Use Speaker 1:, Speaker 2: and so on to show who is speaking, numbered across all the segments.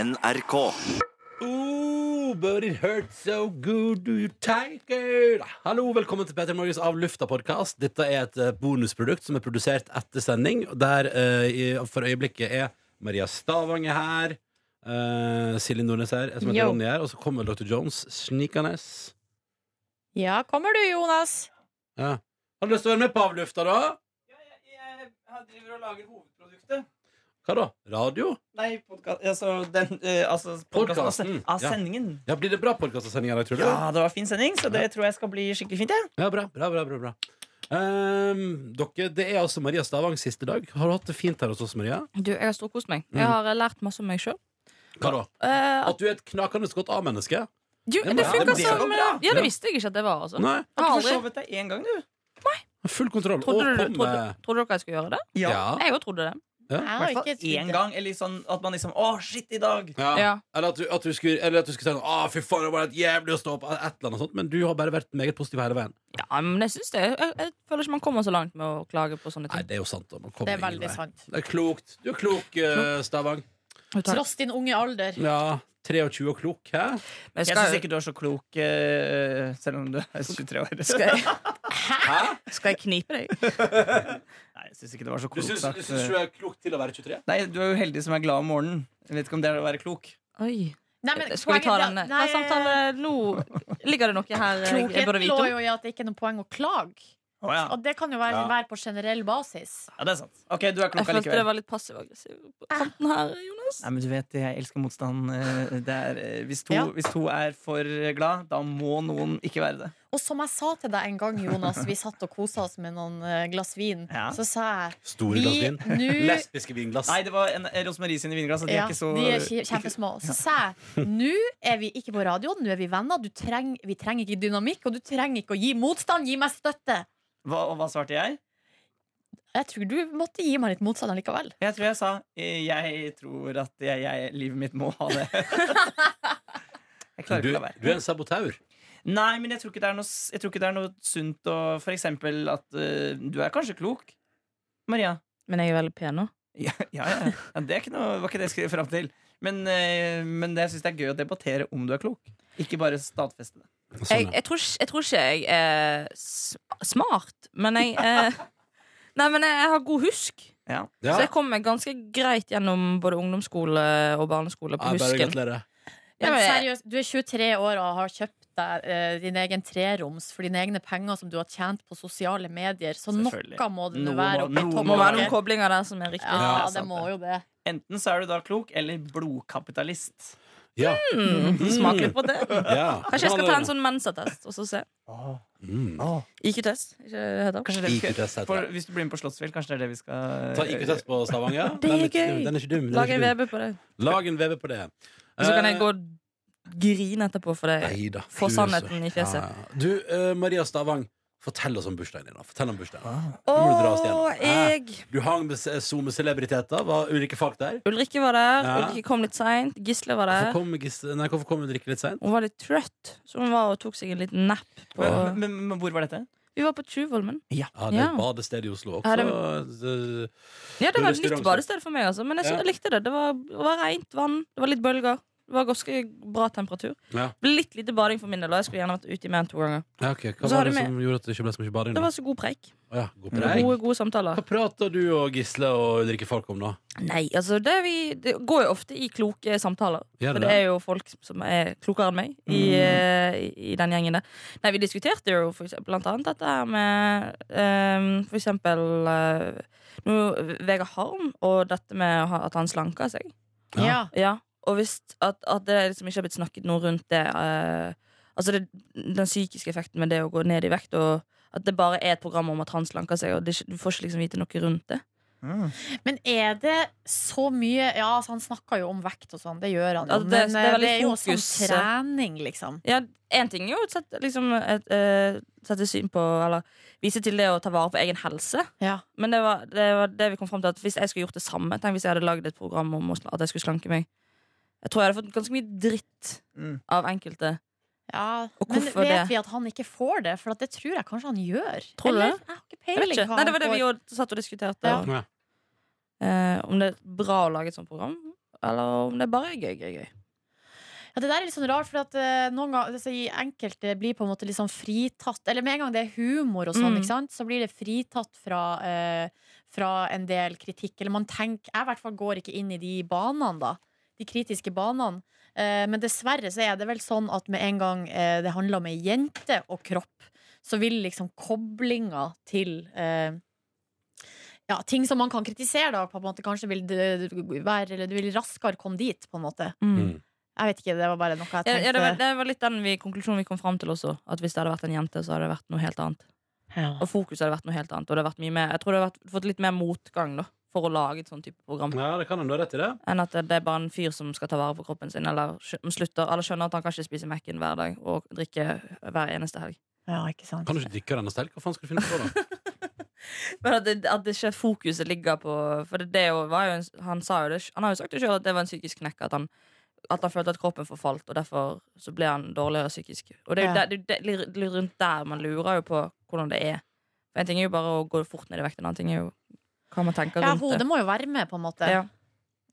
Speaker 1: NRK.
Speaker 2: Oh, but it hurts so good, do you take it? Hallo, velkommen til Petter Morgens Av Lufta-podkast. Dette er et eh, bonusprodukt som er produsert etter sending, der eh, i- for øyeblikket er Maria Stavang er her, eh, Silje Nordnes her, jeg som heter
Speaker 3: Yo.
Speaker 2: Ronny her, og så kommer Dr. Jones snikende.
Speaker 3: Ja, kommer du, Jonas?
Speaker 2: Ja. Har du lyst til å være med på Av Lufta, da?
Speaker 4: Jeg driver og lager hovedproduktet.
Speaker 2: Hva da? Radio?
Speaker 4: Nei, podkast Altså, den, eh, altså podcasten av sen-
Speaker 2: Podcasten,
Speaker 4: av
Speaker 2: ja.
Speaker 4: sendingen.
Speaker 2: Ja, Blir det bra podkastendinger, tror du?
Speaker 4: Ja, det var fin sending, så det tror jeg skal bli skikkelig fint. jeg.
Speaker 2: Ja, bra, bra, bra, bra, bra. Ehm, dere, Det er altså Maria Stavangs siste dag. Har du hatt det fint her hos oss, Maria?
Speaker 3: Du, Jeg har storkost meg.
Speaker 2: Mm.
Speaker 3: Jeg har eh, lært masse om meg sjøl.
Speaker 2: Hva da?
Speaker 3: Uh,
Speaker 2: At du er et knakende godt A-menneske?
Speaker 3: det
Speaker 2: Ja, men det
Speaker 3: funka
Speaker 2: blir
Speaker 4: jo
Speaker 3: som
Speaker 4: bra.
Speaker 3: eh, Ja,
Speaker 2: Ja.
Speaker 3: det visste jeg ikke at det var, altså.
Speaker 2: Nei.
Speaker 3: Jeg har
Speaker 4: Har du
Speaker 3: aldri
Speaker 4: forsovet deg én gang, du?
Speaker 2: Full kontroll. Og
Speaker 3: Trodde,
Speaker 2: på
Speaker 3: du, trodde,
Speaker 2: med
Speaker 3: trodde dere jeg skulle gjøre det?
Speaker 2: Ja.
Speaker 3: Jeg òg trodde det.
Speaker 4: I hvert fall én gang. Eller sånn at man liksom Å, shit, i dag!
Speaker 2: Ja.
Speaker 3: Ja.
Speaker 2: Eller, at du, at du skulle, eller at du skulle si Å, fy faen, det var helt jævlig å stå opp. Et eller annet sånt. Men du har bare vært meget positiv hele veien.
Speaker 3: Ja, men jeg syns det. Jeg, jeg føler ikke man kommer så langt med å klage på sånne
Speaker 2: Nei,
Speaker 3: ting.
Speaker 2: det er jo sant. Da. Man kommer
Speaker 5: Det er
Speaker 2: ingen
Speaker 5: veldig
Speaker 2: vei.
Speaker 5: sant.
Speaker 2: Det er klokt. Du er klok, eh, Stavang.
Speaker 3: Jo, takk.
Speaker 5: Tross din unge alder.
Speaker 2: Ja. 23 og klok, hæ?
Speaker 3: Men
Speaker 4: Jeg
Speaker 3: skal,
Speaker 4: syns ikke du er så klok, eh, selv om du er 23 år.
Speaker 3: skal, jeg, skal jeg knipe deg?
Speaker 4: Nei, jeg syns ikke det var så
Speaker 2: Du
Speaker 4: klokt
Speaker 2: syns,
Speaker 4: sagt.
Speaker 2: du er klok til å være 23?
Speaker 4: Nei, du er jo heldig som er glad om morgenen. Jeg vet ikke om det er å være klok.
Speaker 3: Oi.
Speaker 5: Nei, men
Speaker 3: Skal vi ta
Speaker 5: poenget-
Speaker 3: den eh,
Speaker 5: Nei,
Speaker 3: ta samtale nå? Ligger det noe her eh, jeg burde
Speaker 5: Klokheten lå
Speaker 3: vite om?
Speaker 5: jo i at det ikke er noe poeng å klage.
Speaker 4: Å ja.
Speaker 5: Og det kan jo være,
Speaker 2: Ja.
Speaker 5: være på generell basis.
Speaker 4: ja, det er sant. Ok, du er
Speaker 3: Jeg
Speaker 4: klok
Speaker 3: følte det
Speaker 4: allikevel.
Speaker 3: var litt passiv-aggressiv på kanten her, Jonas.
Speaker 4: Nei, men du vet, jeg elsker motstand. eh, Det er, eh, hvis, to,
Speaker 5: Ja.
Speaker 4: hvis to er for glad, da må noen ikke være det.
Speaker 5: Og som jeg sa til deg en gang, Jonas, vi satt og kosa oss med noen eh, glass vin,
Speaker 4: Ja.
Speaker 5: så sa jeg
Speaker 2: Store glass
Speaker 5: vi
Speaker 2: vin.
Speaker 5: nå
Speaker 2: Lesbiske vinglass.
Speaker 4: Nei, det var en eh, Rosemarie sine vinglass. og De
Speaker 5: ja,
Speaker 4: er ikke så
Speaker 5: de er kje- kjempesmå. Så sa jeg nå er vi ikke på radioen, nå er vi venner. Du treng, vi trenger ikke dynamikk, og du trenger ikke å gi motstand. Gi meg støtte!
Speaker 4: hva, Og hva svarte jeg?
Speaker 5: Jeg tror du måtte gi meg litt motstand likevel.
Speaker 4: Jeg tror jeg sa eh, Jeg tror at jeg, jeg, livet mitt må ha det. Jeg klarer
Speaker 2: du,
Speaker 4: ikke å
Speaker 2: du
Speaker 4: la
Speaker 2: er
Speaker 4: være.
Speaker 2: en sabotaur.
Speaker 4: Nei, men jeg tror ikke det er noe, s- jeg tror ikke det er noe sunt å For eksempel at eh, du er kanskje klok, Maria.
Speaker 3: Men jeg er veldig pen nå.
Speaker 4: Ja, ja, ja. ja Det er ikke noe, var ikke det jeg skulle fram til. Men, eh, men det, jeg syns det er gøy å debattere om du er klok. Ikke bare stadfeste det.
Speaker 2: Sånn,
Speaker 3: jeg, jeg, tror, ikke- jeg tror ikke jeg er s- smart, men jeg eh, Nei, men jeg, jeg har god husk.
Speaker 4: Ja.
Speaker 2: ja.
Speaker 3: Så jeg kom meg ganske greit gjennom både ungdomsskole og barneskole på
Speaker 2: Ja, bare
Speaker 3: husken.
Speaker 2: gratulerer.
Speaker 3: Ja,
Speaker 5: Men
Speaker 3: men jeg-
Speaker 5: seriøst, du er 23 år og har kjøpt deg eh, din egen treroms for dine egne penger som du har tjent på sosiale medier, så
Speaker 4: Selvfølgelig.
Speaker 5: noe må det nå
Speaker 4: Noe
Speaker 5: være.
Speaker 4: må-
Speaker 5: oppi
Speaker 4: noe
Speaker 5: toppen.
Speaker 3: Må være noen koblinger der som er riktig.
Speaker 5: Ja,
Speaker 2: Ja,
Speaker 5: det
Speaker 4: sant
Speaker 5: må
Speaker 4: det.
Speaker 5: jo det.
Speaker 4: Enten så er du da klok, eller blodkapitalist.
Speaker 2: Ja.
Speaker 3: Mm, smak litt på det.
Speaker 2: Ja.
Speaker 3: Kanskje jeg skal ta en sånn mensattest og så se.
Speaker 2: Mm.
Speaker 3: IQ-test. Ikke det heter.
Speaker 4: Kanskje det vi skal-
Speaker 2: IQ-test heter
Speaker 4: for, Hvis du blir med på Slottsfjell, kanskje det er det vi skal
Speaker 2: Ta IQ-test på Stavanger.
Speaker 3: Det er
Speaker 2: Den ikke
Speaker 3: gøy.
Speaker 2: dum, Den er ikke Eh. dum. Den
Speaker 3: Lag en
Speaker 2: er ikke dum.
Speaker 3: VB på det.
Speaker 2: Lag en VB på det.
Speaker 3: Og så kan jeg gå og grine etterpå for det.
Speaker 2: Neida, Eh,
Speaker 3: Få
Speaker 2: du,
Speaker 3: sannheten i
Speaker 2: så-
Speaker 3: fjeset.
Speaker 2: Ja. Du, eh, Maria Stavang, fortell oss om bursdagen din. da. Fortell om bursdagen.
Speaker 3: Å,
Speaker 2: må du dra oss igjennom.
Speaker 3: jeg
Speaker 2: Du hang med se- SoMe-celebriteter. Var ulike folk der?
Speaker 3: Ulrikke var der.
Speaker 2: Ja.
Speaker 3: Ulrikke kom litt seint. Gisle var
Speaker 2: Hvorfor
Speaker 3: der.
Speaker 2: kom, Gis- nei, hvorfor kom du drikke litt seint?
Speaker 3: Hun var litt trøtt, så hun var og tok seg en liten napp. På
Speaker 4: Men, men, men hvor var dette?
Speaker 3: Vi var på Tjuvholmen.
Speaker 2: Ja, det er et
Speaker 3: Ja.
Speaker 2: badested i Oslo også. eh,
Speaker 3: Ja,
Speaker 2: det...
Speaker 3: Ja, det var et
Speaker 2: Restaurant,
Speaker 3: nytt badested for meg, altså. Men jeg, sy-
Speaker 2: Ja.
Speaker 3: jeg likte det. Det var, det var rent vann, det var litt bølger. Det var ganske bra temperatur.
Speaker 2: Ja.
Speaker 3: Ble Litt lite bading for min del, og jeg skulle gjerne vært ute i mer enn to ganger.
Speaker 2: Ja, ok. Hva
Speaker 3: Og så
Speaker 2: var
Speaker 3: har
Speaker 2: det
Speaker 3: du med-
Speaker 2: som gjorde at det ikke ble så mye bading?
Speaker 3: Det
Speaker 2: da?
Speaker 3: var så god preik.
Speaker 2: Å ja, god preik.
Speaker 3: Gode, gode samtaler.
Speaker 2: Hva prater du og Gisle og Ulrikke Falk om, da?
Speaker 3: Nei, altså det, vi, det går jo ofte i kloke samtaler.
Speaker 2: Gjør det
Speaker 3: For det
Speaker 2: det? Mm.
Speaker 3: er jo folk som er klokere enn meg i, eh, i, i den gjengen der. Nei, vi diskuterte jo for eksempel, blant annet dette her med eh, for eksempel eh, nå, Vegard Harm og dette med å ha- at han slanker seg.
Speaker 2: Ja.
Speaker 5: Ja.
Speaker 3: Ja, og hvis at, at det liksom ikke har blitt snakket noe rundt det eh, Altså det, den psykiske effekten med det å gå ned i vekt, og at det bare er et program om at han slanker seg, og det, er ikke- du får ikke liksom vite noe rundt det.
Speaker 4: Mm.
Speaker 5: Men er det så mye Ja, altså, han snakker jo om vekt og sånn, det gjør han jo,
Speaker 3: Altså, det-
Speaker 5: men
Speaker 3: det
Speaker 5: eh,
Speaker 3: er
Speaker 5: det er,
Speaker 3: veldig
Speaker 5: jo også
Speaker 3: fokus, eh.
Speaker 5: sånn trening, liksom.
Speaker 3: Ja, Én ting er jo å sette, liksom, et, eh, sette syn på Eller vise til det å ta vare på egen helse,
Speaker 5: Ja.
Speaker 3: men det var det, var det vi kom fram til at hvis jeg skulle gjort det samme Tenk hvis jeg hadde lagd et program om å sl- at jeg skulle slanke meg. Jeg tror jeg hadde fått ganske mye dritt
Speaker 4: Mm.
Speaker 3: av enkelte.
Speaker 5: Ja,
Speaker 3: Og
Speaker 5: men
Speaker 3: hvorfor
Speaker 5: vet
Speaker 3: det?
Speaker 5: vi at han ikke får det? For at det tror jeg kanskje han gjør.
Speaker 3: Tror du
Speaker 5: Eller?
Speaker 3: det?
Speaker 5: Jeg har ikke
Speaker 3: Jeg vet
Speaker 5: peiling
Speaker 3: ikke.
Speaker 5: hva
Speaker 3: Nei, det
Speaker 5: han
Speaker 3: var det vi
Speaker 5: får.
Speaker 3: jo satt og diskuterte.
Speaker 5: Ja.
Speaker 3: og- Eh, om det er bra å lage et sånt program. eller om det bare er gøy, gøy, gøy.
Speaker 5: Ja, det der er litt sånn rart, for at eh, noen ganger altså, i Enkelte blir på en måte litt sånn fritatt Eller med en gang det er humor og sånn,
Speaker 3: Mm.
Speaker 5: ikke sant? så blir det fritatt fra, eh, fra en del kritikk. Eller man tenker Jeg i hvert fall går ikke inn i de banene, da. De kritiske banene. Eh, men dessverre så er det vel sånn at med en gang eh, det handler om ei jente og kropp, så vil liksom koblinga til eh, ja, ting som man kan kritisere, da, på en måte kanskje vil det, være Eller du vil raskere komme dit, på en måte.
Speaker 2: Mm.
Speaker 5: Jeg vet ikke, det var bare noe jeg
Speaker 3: Ja,
Speaker 5: tenkte.
Speaker 3: ja, det, var, det var litt den vi, konklusjonen vi kom fram til også. At hvis det hadde vært en jente, så hadde det vært noe helt annet. Og fokuset hadde vært noe helt annet. Og det hadde vært mye mer, jeg tror det hadde vært, fått litt mer motgang da, for å lage et sånt type program.
Speaker 2: Ja, det kan han, du har rett i det.
Speaker 3: Enn at det det er bare en fyr som skal ta vare på kroppen sin. Eller skj- slutter, alle skjønner at han kan ikke spise Mac-en hver dag og drikke hver eneste helg.
Speaker 5: Ja, ikke sant.
Speaker 2: Kan du ikke drikke denne stelka? Hva faen skal du finne på, da?
Speaker 3: Men at, det, at det ikke fokuset ligger på For det, det jo var jo en, han, sa jo det, han har jo sagt det sjøl at det var en psykisk knekk. At han, at han følte at kroppen forfalt, og derfor så ble han dårligere psykisk. Og det er jo
Speaker 5: Ja.
Speaker 3: der, det, er jo det, litt rundt der man lurer jo på hvordan det er. For En ting er jo bare å gå fort ned i vekt, en annen ting er jo hva man tenker
Speaker 5: Ja,
Speaker 3: rundt
Speaker 5: hodet
Speaker 3: det.
Speaker 5: må jo være med, på en måte. Ja,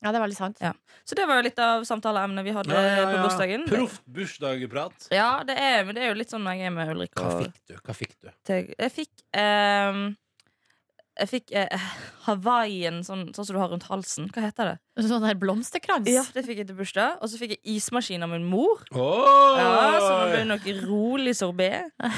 Speaker 3: Ja.
Speaker 5: det er veldig sant.
Speaker 3: Ja. Så det var jo litt av samtaleemnet vi hadde
Speaker 2: Ja, ja, ja.
Speaker 3: Eh, på bursdagen.
Speaker 2: Proft bursdagprat.
Speaker 3: Ja, det er, men det er jo litt sånn når jeg er med Ulrik.
Speaker 2: Hva
Speaker 3: og-
Speaker 2: fikk du? Hva fikk du?
Speaker 3: til Jeg fikk ehm, Jeg fikk eh, Hawaiian sånn, sånn som du har rundt halsen. Hva heter det?
Speaker 5: Sånn her blomsterkrans.
Speaker 3: Ja, det fikk jeg til bursdag. Og så fikk jeg ismaskin av min mor.
Speaker 2: Oh!
Speaker 3: Ja, så det ble noe rolig sorbé.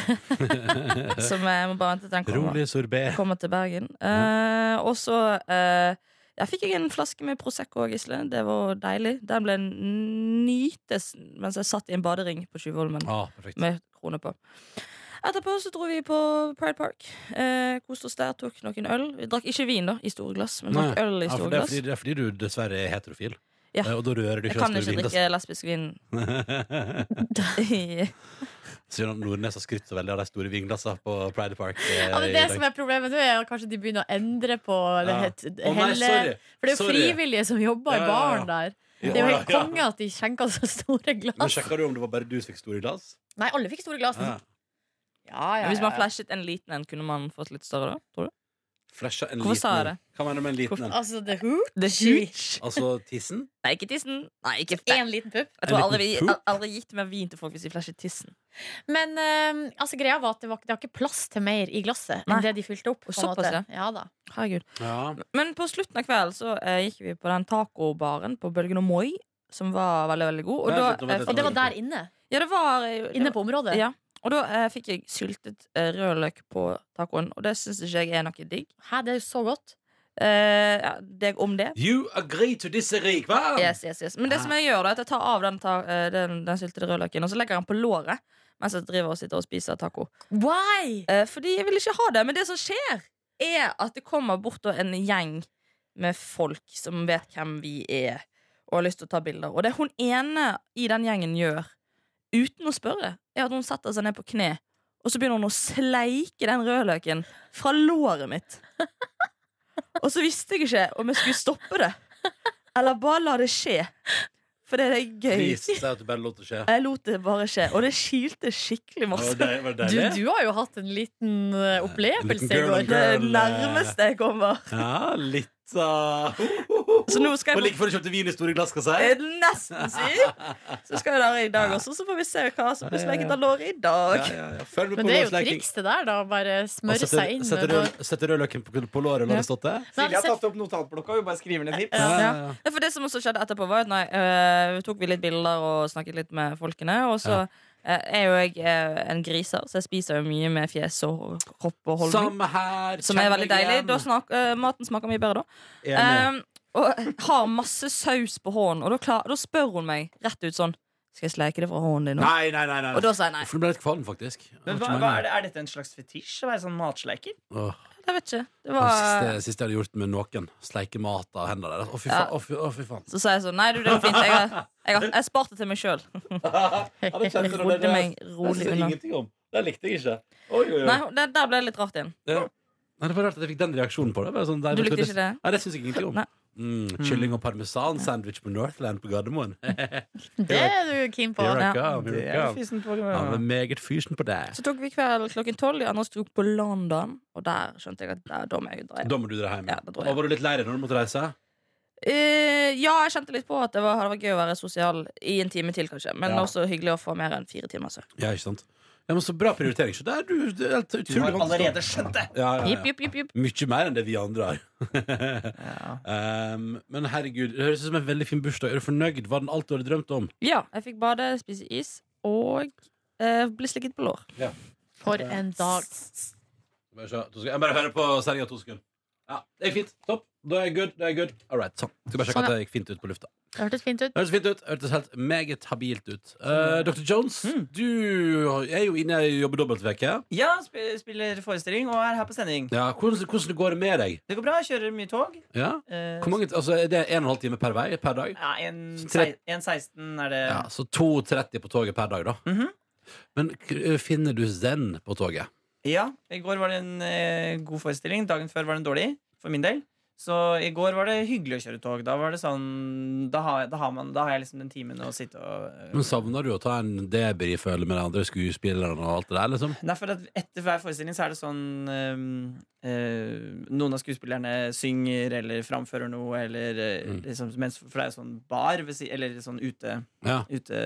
Speaker 3: som jeg må bare vente til den kommer,
Speaker 2: Rolig sorbé.
Speaker 3: kommer til Bergen. Eh, og så eh, jeg fikk jeg en flaske med Prosecco og Gisle. Det var deilig. Den ble nytes mens jeg satt i en badering på Tjuvholmen
Speaker 2: Ah, perfekt.
Speaker 3: med krone på. Etterpå så dro vi på Pride Park. Eh, Koste oss der, tok noen øl. Vi drakk ikke vin da, i store glass, men drakk
Speaker 2: Nei.
Speaker 3: øl i
Speaker 2: Ja, for
Speaker 3: store
Speaker 2: det, er
Speaker 3: glass.
Speaker 2: fordi, det er fordi du dessverre er heterofil.
Speaker 3: Ja.
Speaker 2: Eh, Og da rører du
Speaker 3: Jeg
Speaker 2: ikke av
Speaker 3: kan ikke
Speaker 2: store
Speaker 3: drikke lesbisk vin.
Speaker 2: vinglass.
Speaker 3: i-
Speaker 2: Siden Nordnes har skrytt så veldig av de store vinglassene på Pride Park. eh,
Speaker 5: Ja, men
Speaker 2: i
Speaker 5: det
Speaker 2: dag.
Speaker 5: som er Problemet nå er at kanskje de begynner å endre på det
Speaker 2: Ja.
Speaker 5: het,
Speaker 2: Å nei,
Speaker 5: hele
Speaker 2: sorry.
Speaker 5: For det er jo
Speaker 2: sorry.
Speaker 5: frivillige som jobber
Speaker 2: Ja,
Speaker 5: i
Speaker 2: ja, ja.
Speaker 5: baren der. Det er jo helt konge at de skjenker så store
Speaker 2: Men
Speaker 5: glass.
Speaker 2: sjekka du om det var bare du som fikk store glass?
Speaker 5: Nei, alle fikk store glass. Ja, ja, ja,
Speaker 3: Hvis man
Speaker 5: ja.
Speaker 3: flashet en liten en, kunne man fått litt større da? Tror du?
Speaker 2: Flasha en liten
Speaker 3: Hvorfor sa jeg
Speaker 2: en. Hva mener du med en liten en?
Speaker 5: Altså, the who?
Speaker 3: The huge.
Speaker 2: Altså tissen?
Speaker 3: Nei, ikke tissen. Nei, ikke
Speaker 5: Én liten pupp.
Speaker 3: Jeg tror
Speaker 2: En
Speaker 3: aldri, vi,
Speaker 2: liten poop?
Speaker 3: aldri gitt mer vin til folk hvis de flashet tissen.
Speaker 5: Men eh, altså, greia var at det var, det var ikke plass til mer i glasset
Speaker 3: Nei.
Speaker 5: enn det de fylte opp. på en
Speaker 3: såpass,
Speaker 5: måte.
Speaker 3: ja.
Speaker 5: Ja, da.
Speaker 3: Herregud.
Speaker 2: Ja.
Speaker 3: Men på slutten av kvelden så eh, gikk vi på den tacobaren på Bølgen og Moi, som var veldig, veldig god. Og,
Speaker 2: Vent
Speaker 3: da,
Speaker 2: litt, nå, vent
Speaker 3: eh,
Speaker 2: litt,
Speaker 5: Og
Speaker 2: nå.
Speaker 5: det var der inne.
Speaker 3: ja, det var, eh, det
Speaker 5: Inne på området.
Speaker 3: Ja. Og da eh, fikk jeg syltet eh, rødløk på tacoen, og det syns ikke jeg er noe digg.
Speaker 5: Hæ, det er jo så godt.
Speaker 3: Eh, ja, deg om det.
Speaker 2: You agree to disagree, hva?
Speaker 3: Yes, yes, yes. Men det
Speaker 5: Ah.
Speaker 3: som jeg gjør, da, er at jeg tar av den, ta, eh, den, den syltede rødløken, og så legger jeg den på låret mens jeg driver og sitter og spiser taco.
Speaker 5: Why?
Speaker 3: Eh, fordi jeg vil ikke ha det. Men det som skjer, er at det kommer bort da en gjeng med folk som vet hvem vi er, og har lyst til å ta bilder. Og det hun ene i den gjengen gjør, uten å spørre, er at hun setter seg ned på kne. Og så begynner hun å sleike den rødløken fra låret mitt. Og så visste jeg ikke om jeg skulle stoppe det, eller bare la det skje. For det er gøy.
Speaker 2: Please, si at du bare lot det skje.
Speaker 3: Jeg lot det bare skje, og det kilte skikkelig
Speaker 2: Var
Speaker 3: masse.
Speaker 2: det, var det
Speaker 5: Du,
Speaker 2: deilig?
Speaker 5: du har jo hatt en liten eh, opplevelse
Speaker 2: Liten
Speaker 5: i
Speaker 2: girl on
Speaker 5: går.
Speaker 2: girl.
Speaker 3: Det er nærmeste jeg kommer.
Speaker 2: Ja, litt av
Speaker 3: Så nå skal
Speaker 2: Og
Speaker 3: jeg
Speaker 2: like
Speaker 3: på
Speaker 2: før du kjøpte vin i store glass, skal jeg si.
Speaker 3: Eh, nesten si. Så skal jeg der i dag også, så får vi se hva som blir sleket av låret i dag.
Speaker 2: Ja, ja, ja. Følg med
Speaker 5: Men
Speaker 2: på
Speaker 5: det er jo
Speaker 2: lårsleiking.
Speaker 5: triks det der, da. å Bare
Speaker 2: Og
Speaker 5: smøre
Speaker 2: setter-
Speaker 5: seg inn.
Speaker 2: Setter
Speaker 5: med noe-
Speaker 2: rød- setter rødløken på, på låret når
Speaker 5: Ja.
Speaker 2: det har stått det?
Speaker 5: Men
Speaker 4: Silje har
Speaker 5: sett-
Speaker 4: tatt opp notatblokka og hun bare skriver ned tips.
Speaker 5: Ja.
Speaker 2: Ja, ja, ja.
Speaker 3: Ja, for det som også skjedde etterpå, var at nei, eh, tok vi litt bilder og snakket litt med folkene. Og så eh, er jo jeg eh, en griser, så jeg spiser jo mye med fjes og kropp og holdning.
Speaker 2: Samme her.
Speaker 3: Som er
Speaker 2: kjenn
Speaker 3: veldig
Speaker 2: meg
Speaker 3: deilig.
Speaker 2: igjen.
Speaker 3: Da snak, eh, maten smaker mye bedre da.
Speaker 2: Enig.
Speaker 3: Um, og har masse saus på hånden, og da, klar, da spør hun meg rett ut sånn Skal jeg sleike det fra hånden din nå?
Speaker 2: Nei, nei, nei. nei.
Speaker 3: Og da sa jeg nei.
Speaker 2: For du ble litt kvalm, faktisk.
Speaker 4: Men hva, hva er, det, er dette en slags fetisj? Å være sånn matsleiker?
Speaker 2: Åh,
Speaker 3: Jeg vet ikke. Det
Speaker 2: det
Speaker 3: var
Speaker 2: siste, siste jeg hadde gjort med noen. Sleike mat av hendene deres. Å, fy
Speaker 3: Ja.
Speaker 2: faen. Å, fy, å, fy faen.
Speaker 3: Så sa jeg sånn Nei, du, det går fint. Jeg har, jeg har, jeg spart det til meg sjøl. Rodde meg rolig unna.
Speaker 2: ingenting om. Det likte jeg ikke. Oi, oi,
Speaker 3: Nei, det, der ble det litt rart igjen.
Speaker 2: Ja. Nei, det var rart at jeg fikk den reaksjonen på det. Bare Sånn, nei,
Speaker 3: Du
Speaker 2: vet
Speaker 3: likte ikke det?
Speaker 2: Nei, det syns jeg ingenting om.
Speaker 3: Nei.
Speaker 2: Mm, kylling og parmesan-sandwich på Northland på Gardermoen.
Speaker 5: Det er du keen på.
Speaker 2: Here I
Speaker 3: Ja.
Speaker 2: come, here I come.
Speaker 4: fysen på
Speaker 2: Ja, men meget fyrsen på det.
Speaker 3: Så tok vi kveld klokken tolv. De andre dro på London, og der skjønte jeg at der, da må jeg jo dra hjem.
Speaker 2: Da må du dra hjem.
Speaker 3: Ja, da drar jeg.
Speaker 2: Og var du litt lei deg når du måtte reise?
Speaker 3: Eh, ja, jeg kjente litt på at det var, det var gøy å være sosial i en time til, kanskje. Men
Speaker 2: Ja.
Speaker 3: også hyggelig å få mer enn fire timer søvn.
Speaker 2: Ja, ikke sant? Ja, men Så bra prioritering. Så det er du, det er helt
Speaker 4: Du
Speaker 2: utrolig
Speaker 4: har
Speaker 2: vanskelig.
Speaker 4: allerede skjønt det!
Speaker 2: Ja, ja,
Speaker 3: Jipp,
Speaker 2: ja.
Speaker 3: jipp, jipp, jipp.
Speaker 2: Mye mer enn det vi andre har.
Speaker 4: Ja.
Speaker 2: Ehm, men herregud, det høres ut som en veldig fin bursdag. Er du fornøyd? Var den alt du hadde drømt om?
Speaker 3: Ja, jeg fikk bade, spise is og eh, bli slikket på lår.
Speaker 5: For en
Speaker 2: Bare
Speaker 5: dag.
Speaker 2: se, to sekunder. Jeg må bare hører på sendinga to sekunder. Ja, det gikk fint. Topp. Da er jeg good. Da er jeg good. All right, sånn. Skal bare sjekke
Speaker 5: Sånn,
Speaker 2: at det gikk fint ut på lufta.
Speaker 5: Det hørtes fint ut.
Speaker 2: Hørtes fint ut. Hørtes helt meget habilt ut. Eh, Dr. Jones, du er jo inne i jobber dobbeltveke.
Speaker 4: ja, sp- spiller forestilling og er her på sending.
Speaker 2: Ja, hvordan, hvordan går det med deg?
Speaker 4: Det går bra, jeg kjører mye tog.
Speaker 2: Ja?
Speaker 4: Eh,
Speaker 2: Hvor mange, altså, er det en og en halv time per vei? Per dag?
Speaker 4: Ja, en
Speaker 2: Tre-
Speaker 4: sei- en 16 er det.
Speaker 2: Ja, Så 2,30 på toget per dag, da.
Speaker 4: Mhm.
Speaker 2: Men k- eh, finner du zen på toget?
Speaker 4: Ja, i går var det en eh, god forestilling. Dagen før var den dårlig, for min del. Så i går var det hyggelig å kjøre tog. Da var det sånn Da har, da har, man, da har jeg liksom den timen å sitte og eh,
Speaker 2: Men Savner du å ta en debrief eller med de andre skuespillerne og alt det der? liksom?
Speaker 4: Nei, for at Etter hver forestilling så er det sånn eh, eh, Noen av skuespillerne synger eller framfører noe, eller eh,
Speaker 2: Mm.
Speaker 4: liksom, mens, For det er jo sånn bar, ved si- eller sånn ute,
Speaker 2: Ja,
Speaker 4: ute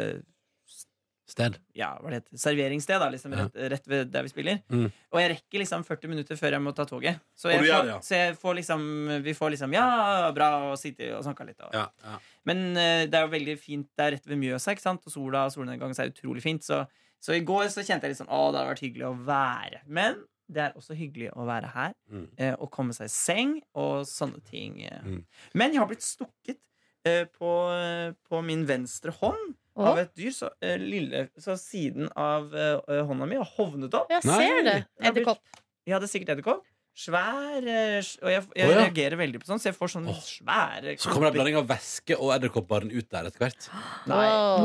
Speaker 2: Sted.
Speaker 4: ja, hva det heter, serveringssted, da, liksom,
Speaker 2: Ja.
Speaker 4: rett, rett ved der vi spiller.
Speaker 2: Mm.
Speaker 4: Og jeg rekker liksom 40 minutter før jeg må ta toget. Så,
Speaker 2: Og
Speaker 4: jeg
Speaker 2: du gjør
Speaker 4: får,
Speaker 2: det, ja.
Speaker 4: så jeg får liksom, vi får liksom Ja, bra, og sitte og snakke litt. Og.
Speaker 2: Ja, ja.
Speaker 4: Men eh, det er jo veldig fint. Det er rett ved Mjøsa, ikke sant? og sola og solnedgangen er utrolig fint. Så, så i går så kjente jeg litt sånn Å, det hadde vært hyggelig å være. Men det er også hyggelig å være her
Speaker 2: Mm.
Speaker 4: eh, og komme seg i seng og sånne ting. eh.
Speaker 2: Mm.
Speaker 4: Men jeg har blitt stukket eh, på, på min venstre hånd av
Speaker 5: Og
Speaker 4: et dyr. Så, eh, lille, så siden av eh, hånda mi har hovnet opp.
Speaker 5: jeg ser
Speaker 2: Nei.
Speaker 5: det. Edderkopp.
Speaker 4: Jeg hadde sikkert edderkopp. Svær eh, s- Og jeg, jeg
Speaker 2: Å, ja.
Speaker 4: reagerer veldig på sånn, så jeg får sånne
Speaker 2: Åh.
Speaker 4: svære
Speaker 2: Så kommer det en blanding av væske og edderkoppbarn ut der etter hvert.
Speaker 4: Nei,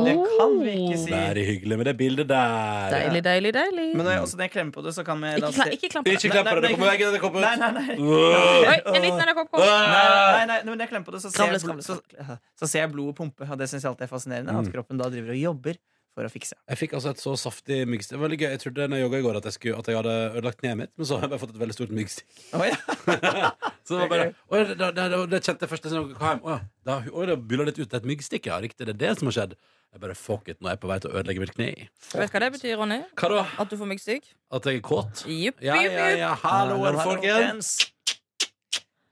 Speaker 4: det kan vi ikke si.
Speaker 2: Veldig hyggelig med det bildet der.
Speaker 3: Deilig, deilig, deilig.
Speaker 4: Men når jeg, også når jeg klemmer på det, så kan vi da
Speaker 3: ikke, kla,
Speaker 4: se
Speaker 3: ikke klamp på det.
Speaker 2: Ikke klepp på det. Det kommer vekk en edderkopp ut.
Speaker 4: Nei, nei, nei.
Speaker 2: Åh.
Speaker 3: Oi, en liten edderkopp kom.
Speaker 4: Nei,
Speaker 2: Åh.
Speaker 4: nei, nei, nei, når jeg klemmer på det, så ser, jeg,
Speaker 3: Skravle,
Speaker 4: blod, så, så ser jeg blodet pumpe. Og det syns jeg alltid er fascinerende. At
Speaker 2: Mm.
Speaker 4: kroppen da driver og jobber for å fikse.
Speaker 2: Jeg fikk altså et så saftig myggstikk. Det var veldig gøy. Jeg trodde når jeg jogga i går at jeg, skulle, at jeg hadde ødelagt kneet mitt, men så har jeg bare fått et veldig stort myggstikk.
Speaker 4: Å, ja.
Speaker 2: Så det var bare Oi, det, det, det, det kjente jeg først da jeg kom hjem. Å, da, oi, det bulla litt ut et myggstikk, ja. Riktig, det er det som har skjedd. Jeg bare fuck it, nå er jeg på vei til å ødelegge mitt kne.
Speaker 3: Vet du hva det betyr, Ronny?
Speaker 2: Hva da?
Speaker 3: At du får myggsyk?
Speaker 2: At jeg er kåt?
Speaker 3: Jupp,
Speaker 2: Ja,
Speaker 3: jupp,
Speaker 2: ja,
Speaker 3: jupp.
Speaker 2: ja. Halloen,
Speaker 4: Hallo, hallo,
Speaker 2: folkens.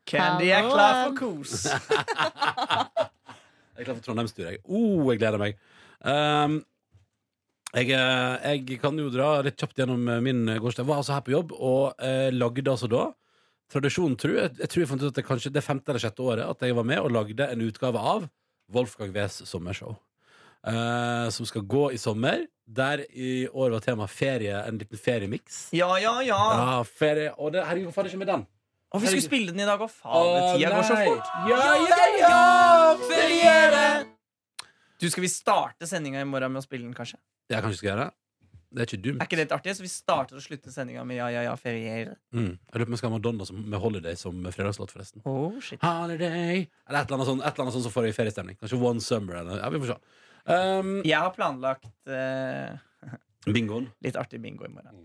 Speaker 4: Candy er klar for kos.
Speaker 2: Jeg er klar for Trondheimstur, jeg. Oh, jeg gleder meg. Ehm, jeg, eh, jeg kan jo dra litt kjapt gjennom eh, min gårsdag. Jeg var altså her på jobb og eh, lagde altså da Tradisjonen tro, jeg, jeg tror jeg fant ut at det kanskje det femte eller sjette året at jeg var med og lagde en utgave av Wolfgang Wees sommershow. eh, som skal gå i sommer. Der i år var tema ferie, en liten feriemiks.
Speaker 4: Ja, ja, ja.
Speaker 2: Ja, ferie Og det, herregud, hvorfor er det ikke med den?
Speaker 4: Og vi skulle
Speaker 2: Herregud.
Speaker 4: spille den i dag, og faen, tida går så
Speaker 2: nei.
Speaker 4: fort.
Speaker 2: Ja, ja, ja! Feriere!
Speaker 4: Du, Skal vi starte sendinga i morgen med å spille den, kanskje?
Speaker 2: Jeg kanskje skal gjøre det. Det er ikke dumt.
Speaker 4: Er ikke det litt artig? Så vi starter og slutter sendinga med ja, ja, ja, ferier.
Speaker 2: Mm. Jeg lurer på om jeg skal ha Madonna som, med Holiday som fredagslåt, forresten.
Speaker 4: Oh, shit.
Speaker 2: Holiday Eller et eller annet sånt, et eller annet sånt som får deg i feriestemning. Kanskje One Summer eller Ja, vi får se. Um,
Speaker 4: Jeg har planlagt eh,
Speaker 2: bingoen.
Speaker 4: litt artig bingo i morgen.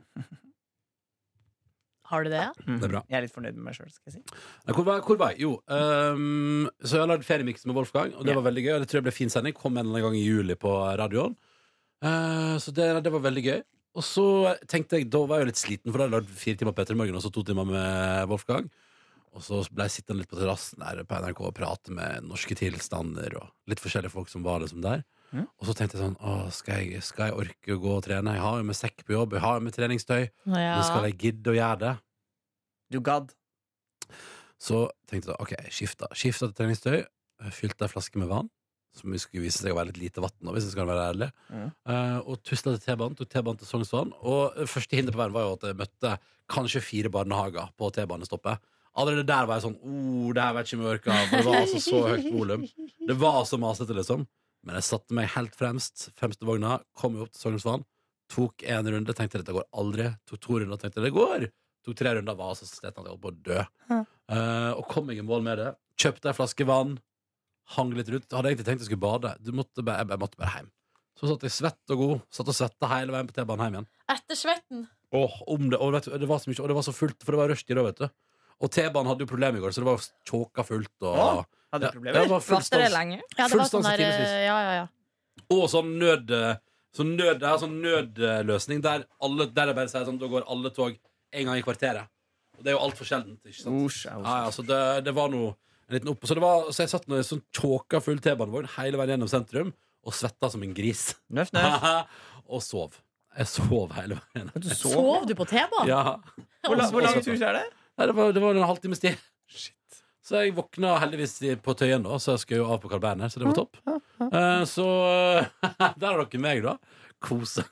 Speaker 5: Har du det?
Speaker 4: Mm.
Speaker 2: Det er bra.
Speaker 4: Jeg er litt fornøyd med meg sjøl, skal jeg si.
Speaker 2: Nei, Hvor var, hvor var jeg? Jo, ehm, så jeg har lagd feriemiks med Wolfgang, og det
Speaker 4: Ja.
Speaker 2: var veldig gøy. og Det tror jeg ble fin sending. Kom en eller annen gang i juli på radioen. Eh, så det, det var veldig gøy. Og så tenkte jeg, da var jeg jo litt sliten, for da hadde jeg lagd fire timer Petter i morgen og så to timer med Wolfgang. Og så ble jeg sittende litt på terrassen der på NRK og prate med norske tilstander og litt forskjellige folk som var liksom der.
Speaker 4: Mhm.
Speaker 2: Og så tenkte jeg sånn, Åh, skal, jeg, skal jeg orke å gå og trene? Jeg har jo med sekk på jobb, jeg har jo med treningstøy.
Speaker 5: Ja.
Speaker 2: Men skal jeg gidde å gjøre det?
Speaker 4: Du gadd.
Speaker 2: Så tenkte jeg da, ok, skifta, skifta til treningstøy eh, Fylte ei flaske med vann Som skulle vise seg å være litt lite vann Hvis jeg skal være ærlig
Speaker 4: Mhm.
Speaker 2: Eh, Og tusla til T-banen Tok T-banen til Sognsvann Og eh, første hinder på veien var jo at jeg møtte Kanskje fire barnehager på T-banestoppet Allerede der var jeg sånn Oh, det her vet ikke om jeg orker For det var altså så høyt volum Det var så masete liksom Men jeg satte meg helt fremst Fremste vogna Kom jo opp til Sognsvann Tok en runde Tenkte dette går aldri Tok to runder Tenkte det går Tok tre runder Var altså så sliten at jeg holdt på å dø Eh, og kom meg i mål med det. Kjøpte ei flaske vann, hang litt rundt. Hadde egentlig tenkt jeg skulle bade. Du måtte bare, jeg bare måtte bare hjem. Så satt jeg svett og god, satt og svetta hele veien på T-banen hjem igjen.
Speaker 5: Etter svetten.
Speaker 2: Åh, om det, og, vet du, det var så mye, og det var så fullt, for det var rushtid da, vet du. Og T-banen hadde jo problemer i går, så det var jo tjåka fullt. Og,
Speaker 4: Åh. Hadde du
Speaker 2: Ja, det
Speaker 4: problemer?
Speaker 2: var full
Speaker 3: Varte det
Speaker 2: stans.
Speaker 3: lenge?
Speaker 5: Ja, det
Speaker 2: Full
Speaker 5: var
Speaker 2: stans i
Speaker 5: sånn der,
Speaker 2: timevis.
Speaker 5: eh, ja, ja, ja.
Speaker 2: Og sånn nød Så nød, det er sånn nødløsning Der, alle, der det bare sier sånn Da går alle tog en gang i kvarteret Og det er jo alt for sjeldent, ikke sant?
Speaker 4: Osj, ja, osj.
Speaker 2: Ja, ja, så det, det var noe en liten opp Så, det var, så jeg satt med en sånn tjåka full T-banevogn Hele veien gjennom sentrum Og svetta som en gris
Speaker 4: Nøff, nøff.
Speaker 2: Og sov Jeg sov hele veien
Speaker 4: Du sov.
Speaker 5: Sov du på T-banen?
Speaker 2: ja.
Speaker 4: Hvor, la, hvor lang tur er det?
Speaker 2: Nei, det, var, det var en halvtime sti Så jeg våkna heldigvis i- på tøyen da Så jeg skal jo av på Carl Berner, så det var topp Eh, Så der har dere meg da Kose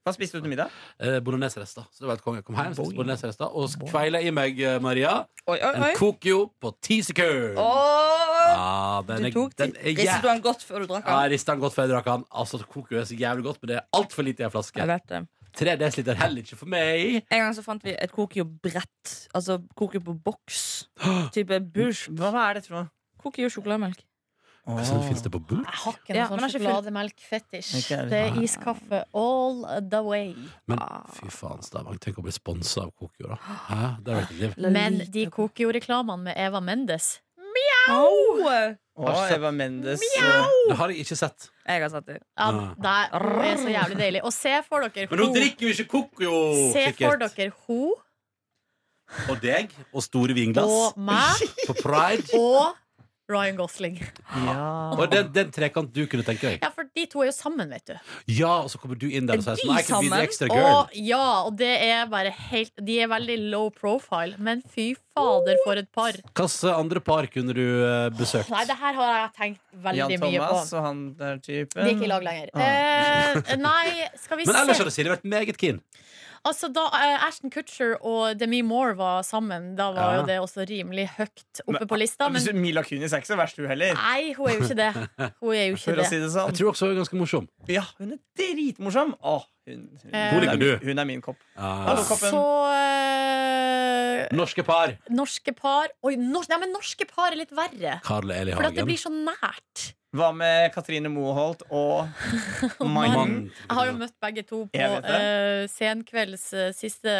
Speaker 4: Hva spiste du til middag?
Speaker 2: eh, bolognesrester. Så det var helt konge. Jeg kom hjem, spiste bolognesrester og kveila i meg, eh, Maria,
Speaker 3: Oi, oi,
Speaker 2: en
Speaker 3: oi.
Speaker 2: Kokio på ti sekunder.
Speaker 3: Åh,
Speaker 2: Ja,
Speaker 3: du
Speaker 2: den er,
Speaker 3: tok
Speaker 2: den er
Speaker 3: Ristet du
Speaker 2: jævlig
Speaker 3: den godt før du drakk
Speaker 2: ja,
Speaker 3: den?
Speaker 2: jeg ristet den godt før jeg drakk den. Altså, Kokio er så jævlig godt, men det er altfor lite i en flaske.
Speaker 3: Jeg vet det.
Speaker 2: Tre desiliter heller ikke for meg.
Speaker 3: En gang så fant vi et Kokio-brett. Altså Kokio på boks. Type Bush.
Speaker 4: Hva hva er det, tror du?
Speaker 3: Kokio sjokolademelk.
Speaker 2: Sånn Fins det på bord?
Speaker 5: Jeg har ikke
Speaker 3: Ja,
Speaker 5: noe
Speaker 3: men
Speaker 5: sånn
Speaker 3: jeg har ikke
Speaker 5: sjokolademelk-fetisj.
Speaker 4: Ikke jeg
Speaker 5: Det
Speaker 4: heller.
Speaker 5: er iskaffe all the way.
Speaker 2: Men
Speaker 3: Ah.
Speaker 2: fy faen, Stavang. Tenk å bli sponsa av Kokio, da. Hæ? Det er jo ikke liv.
Speaker 5: Men de koker jo reklamene med Eva Mendes.
Speaker 3: Au!
Speaker 4: Å, Eva Mendes. eh,
Speaker 3: Oh.
Speaker 2: Det har jeg ikke sett.
Speaker 3: Jeg har satt det.
Speaker 5: Ja,
Speaker 2: Ah.
Speaker 5: det er så jævlig deilig. Og se for dere
Speaker 2: Men
Speaker 3: Oh.
Speaker 2: nå
Speaker 5: ho.
Speaker 2: drikker jo ikke Kokio,
Speaker 5: Se for
Speaker 2: sikkert.
Speaker 5: dere ho
Speaker 2: Og deg. Og store vinglass.
Speaker 5: og meg
Speaker 2: På pride.
Speaker 5: og Ryan Gosling.
Speaker 4: Ja.
Speaker 2: Og den, den trekant du kunne tenke deg.
Speaker 5: Ja, for de to er jo sammen, vet du.
Speaker 2: Ja, og så kommer du inn der og sier sånn,
Speaker 3: Er de
Speaker 2: I can be the
Speaker 3: sammen?
Speaker 2: extra girl.
Speaker 5: Og ja, og det er bare helt De er veldig low profile, men fy fader, for et par.
Speaker 2: Hvilke andre par kunne du eh, besøkt?
Speaker 5: Nei, det her har jeg tenkt
Speaker 4: Jan
Speaker 5: veldig mye på.
Speaker 4: Thomas og han der typen.
Speaker 5: De er ikke i lag lenger.
Speaker 4: Ah.
Speaker 5: Eh, nei, skal vi
Speaker 2: Men ellers
Speaker 5: se
Speaker 2: hadde Silje vært meget keen.
Speaker 5: Altså Da eh, Ashton Kutcher og Demi Moore var sammen, da var
Speaker 2: Ja.
Speaker 5: jo det også rimelig høyt oppe
Speaker 4: Men-
Speaker 5: på lista. Men
Speaker 4: Hvis du- Mila Kunis er ikke så verst, hun heller.
Speaker 5: nei, hun er jo ikke det. Hun er jo ikke
Speaker 4: For å si
Speaker 5: det.
Speaker 4: det
Speaker 2: Jeg
Speaker 4: sånn.
Speaker 2: tror også hun er ganske morsom.
Speaker 4: Ja, hun er dritmorsom. Å, hun, hun,
Speaker 5: Eh.
Speaker 2: Hvor
Speaker 4: er
Speaker 2: ligger
Speaker 4: min,
Speaker 2: du?
Speaker 4: hun er min kopp.
Speaker 2: Ja.
Speaker 4: Hallo, koppen.
Speaker 5: Så eh,
Speaker 2: Ah, Norske par.
Speaker 5: Norske par Oi, nors- nei, men norske par er litt verre.
Speaker 2: Karl Eli
Speaker 5: For at det
Speaker 2: Hagen.
Speaker 5: blir så nært.
Speaker 4: Hva med Katrine Moholt og Mannen?
Speaker 2: Mann.
Speaker 5: Jeg har jo møtt begge to på
Speaker 4: Jeg vet det.
Speaker 5: eh, senkvelds eh, siste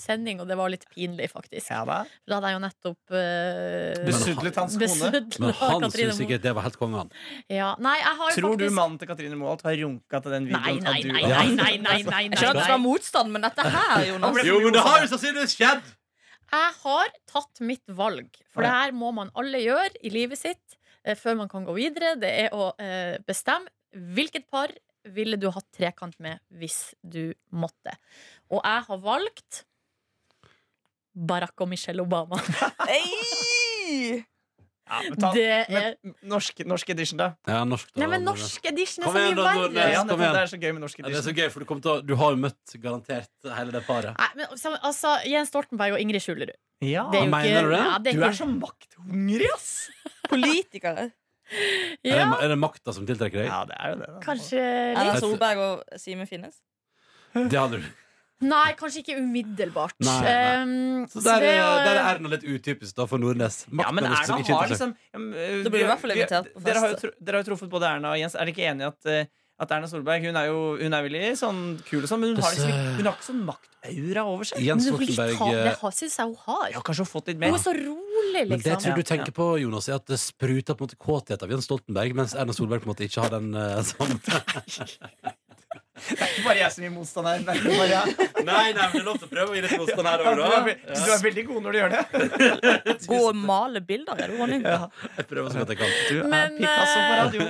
Speaker 5: sending, og det var litt pinlig, faktisk.
Speaker 4: Ja da.
Speaker 5: For Da hadde jeg jo nettopp eh,
Speaker 4: Besudlet hans kone.
Speaker 5: besudlet
Speaker 2: Men han
Speaker 5: Katrine
Speaker 2: syns
Speaker 5: Moe.
Speaker 2: sikkert det var helt konge, han.
Speaker 5: Ja. Nei, jeg har jo
Speaker 4: Tror du
Speaker 5: faktisk
Speaker 4: mannen til Katrine Moholt har runka til den
Speaker 5: Nei,
Speaker 4: videoen?
Speaker 5: nei,
Speaker 4: av du
Speaker 5: nei,
Speaker 4: og-
Speaker 5: nei, nei, nei, nei,
Speaker 3: Jeg skjønner at det
Speaker 5: nei,
Speaker 3: skal være
Speaker 5: nei.
Speaker 3: motstand, men dette her, Jonas
Speaker 2: Jo, men det har jo sannsynligvis skjedd!
Speaker 5: Jeg har tatt mitt valg, for det her må man alle gjøre i livet sitt eh, før man kan gå videre. Det er å eh, bestemme hvilket par ville du hatt trekant med hvis du måtte. Og jeg har valgt Barack og Michelle Obama.
Speaker 3: Ei!
Speaker 4: Ja, men ta,
Speaker 5: Det er
Speaker 4: men, norsk, norsk edition, da.
Speaker 2: Ja, norsk, da.
Speaker 5: Nei, men norsk edition er
Speaker 2: Kom
Speaker 5: så
Speaker 2: igjen,
Speaker 5: mye
Speaker 2: da, Nordnes.
Speaker 5: verre.
Speaker 4: Ja,
Speaker 2: kom
Speaker 4: det,
Speaker 2: igjen.
Speaker 4: det er så gøy med norsk
Speaker 2: Ja, det er så
Speaker 4: edition.
Speaker 2: gøy, for du, kommer til å, du har jo møtt garantert hele det paret.
Speaker 5: Nei, men sam- altså, Jens Stoltenberg og Ingrid Skjulerud.
Speaker 4: Ja.
Speaker 5: Det er jo
Speaker 2: Ah. mener
Speaker 5: ikke-
Speaker 2: du det?
Speaker 5: Ja, det
Speaker 4: Du
Speaker 5: er
Speaker 4: er
Speaker 5: ikke,
Speaker 4: så makthungrig, ass!
Speaker 3: Politikere.
Speaker 2: Er,
Speaker 5: ja,
Speaker 2: det, er det makta som tiltrekker deg?
Speaker 4: Ja, det er jo det. da.
Speaker 5: kanskje
Speaker 3: Erna
Speaker 5: litt.
Speaker 3: Solberg og Simen Finnes.
Speaker 2: Det hadde du.
Speaker 5: Nei, kanskje ikke umiddelbart.
Speaker 2: Nei, nei.
Speaker 5: Um,
Speaker 2: Så der
Speaker 5: det
Speaker 2: er,
Speaker 5: å-
Speaker 2: der er Erna litt utypisk da for Nordnes.
Speaker 4: Ja, men
Speaker 2: Maktmenneske
Speaker 4: Erna
Speaker 2: som ikke
Speaker 4: har
Speaker 2: er interessert.
Speaker 4: liksom ja, men, øh,
Speaker 3: Da blir du i hvert fall
Speaker 4: vi-
Speaker 3: invitert på
Speaker 4: Dere har, jo,
Speaker 3: fest.
Speaker 4: tru- dere har jo truffet både Erna og Jens. Er dere ikke enige i at, øh, at Erna Solberg hun er jo hun er veldig sånn kul og sånn, men hun har, liksom, ikke- hun har ikke sånn maktaura over seg?
Speaker 5: Men
Speaker 2: Jens
Speaker 5: hun vil
Speaker 2: Stoltenberg
Speaker 5: ta-
Speaker 2: eh,
Speaker 5: Det har- synes jeg hun har.
Speaker 4: Ja, kanskje hun har fått litt
Speaker 5: Hun
Speaker 4: mer.
Speaker 5: er så rolig,
Speaker 2: Men det jeg
Speaker 5: liksom.
Speaker 2: tror du
Speaker 4: Ja,
Speaker 2: tenker på, Jonas, er at det spruter på en måte kåthet av Jens Stoltenberg, mens Erna Solberg på en måte ikke har den eh, samme
Speaker 4: Det er ikke bare jeg som gir motstand her. Det er ikke bare jeg.
Speaker 2: Nei, nei, men det er lov til å prøve å gi litt motstand her
Speaker 4: Du, er, ve- du er veldig god når du gjør det.
Speaker 3: Gå og male bilder, er du, Ronny?
Speaker 2: Jeg prøver så godt jeg kan.
Speaker 4: Du er
Speaker 5: Men,
Speaker 4: Picasso på
Speaker 5: eh,
Speaker 4: radio.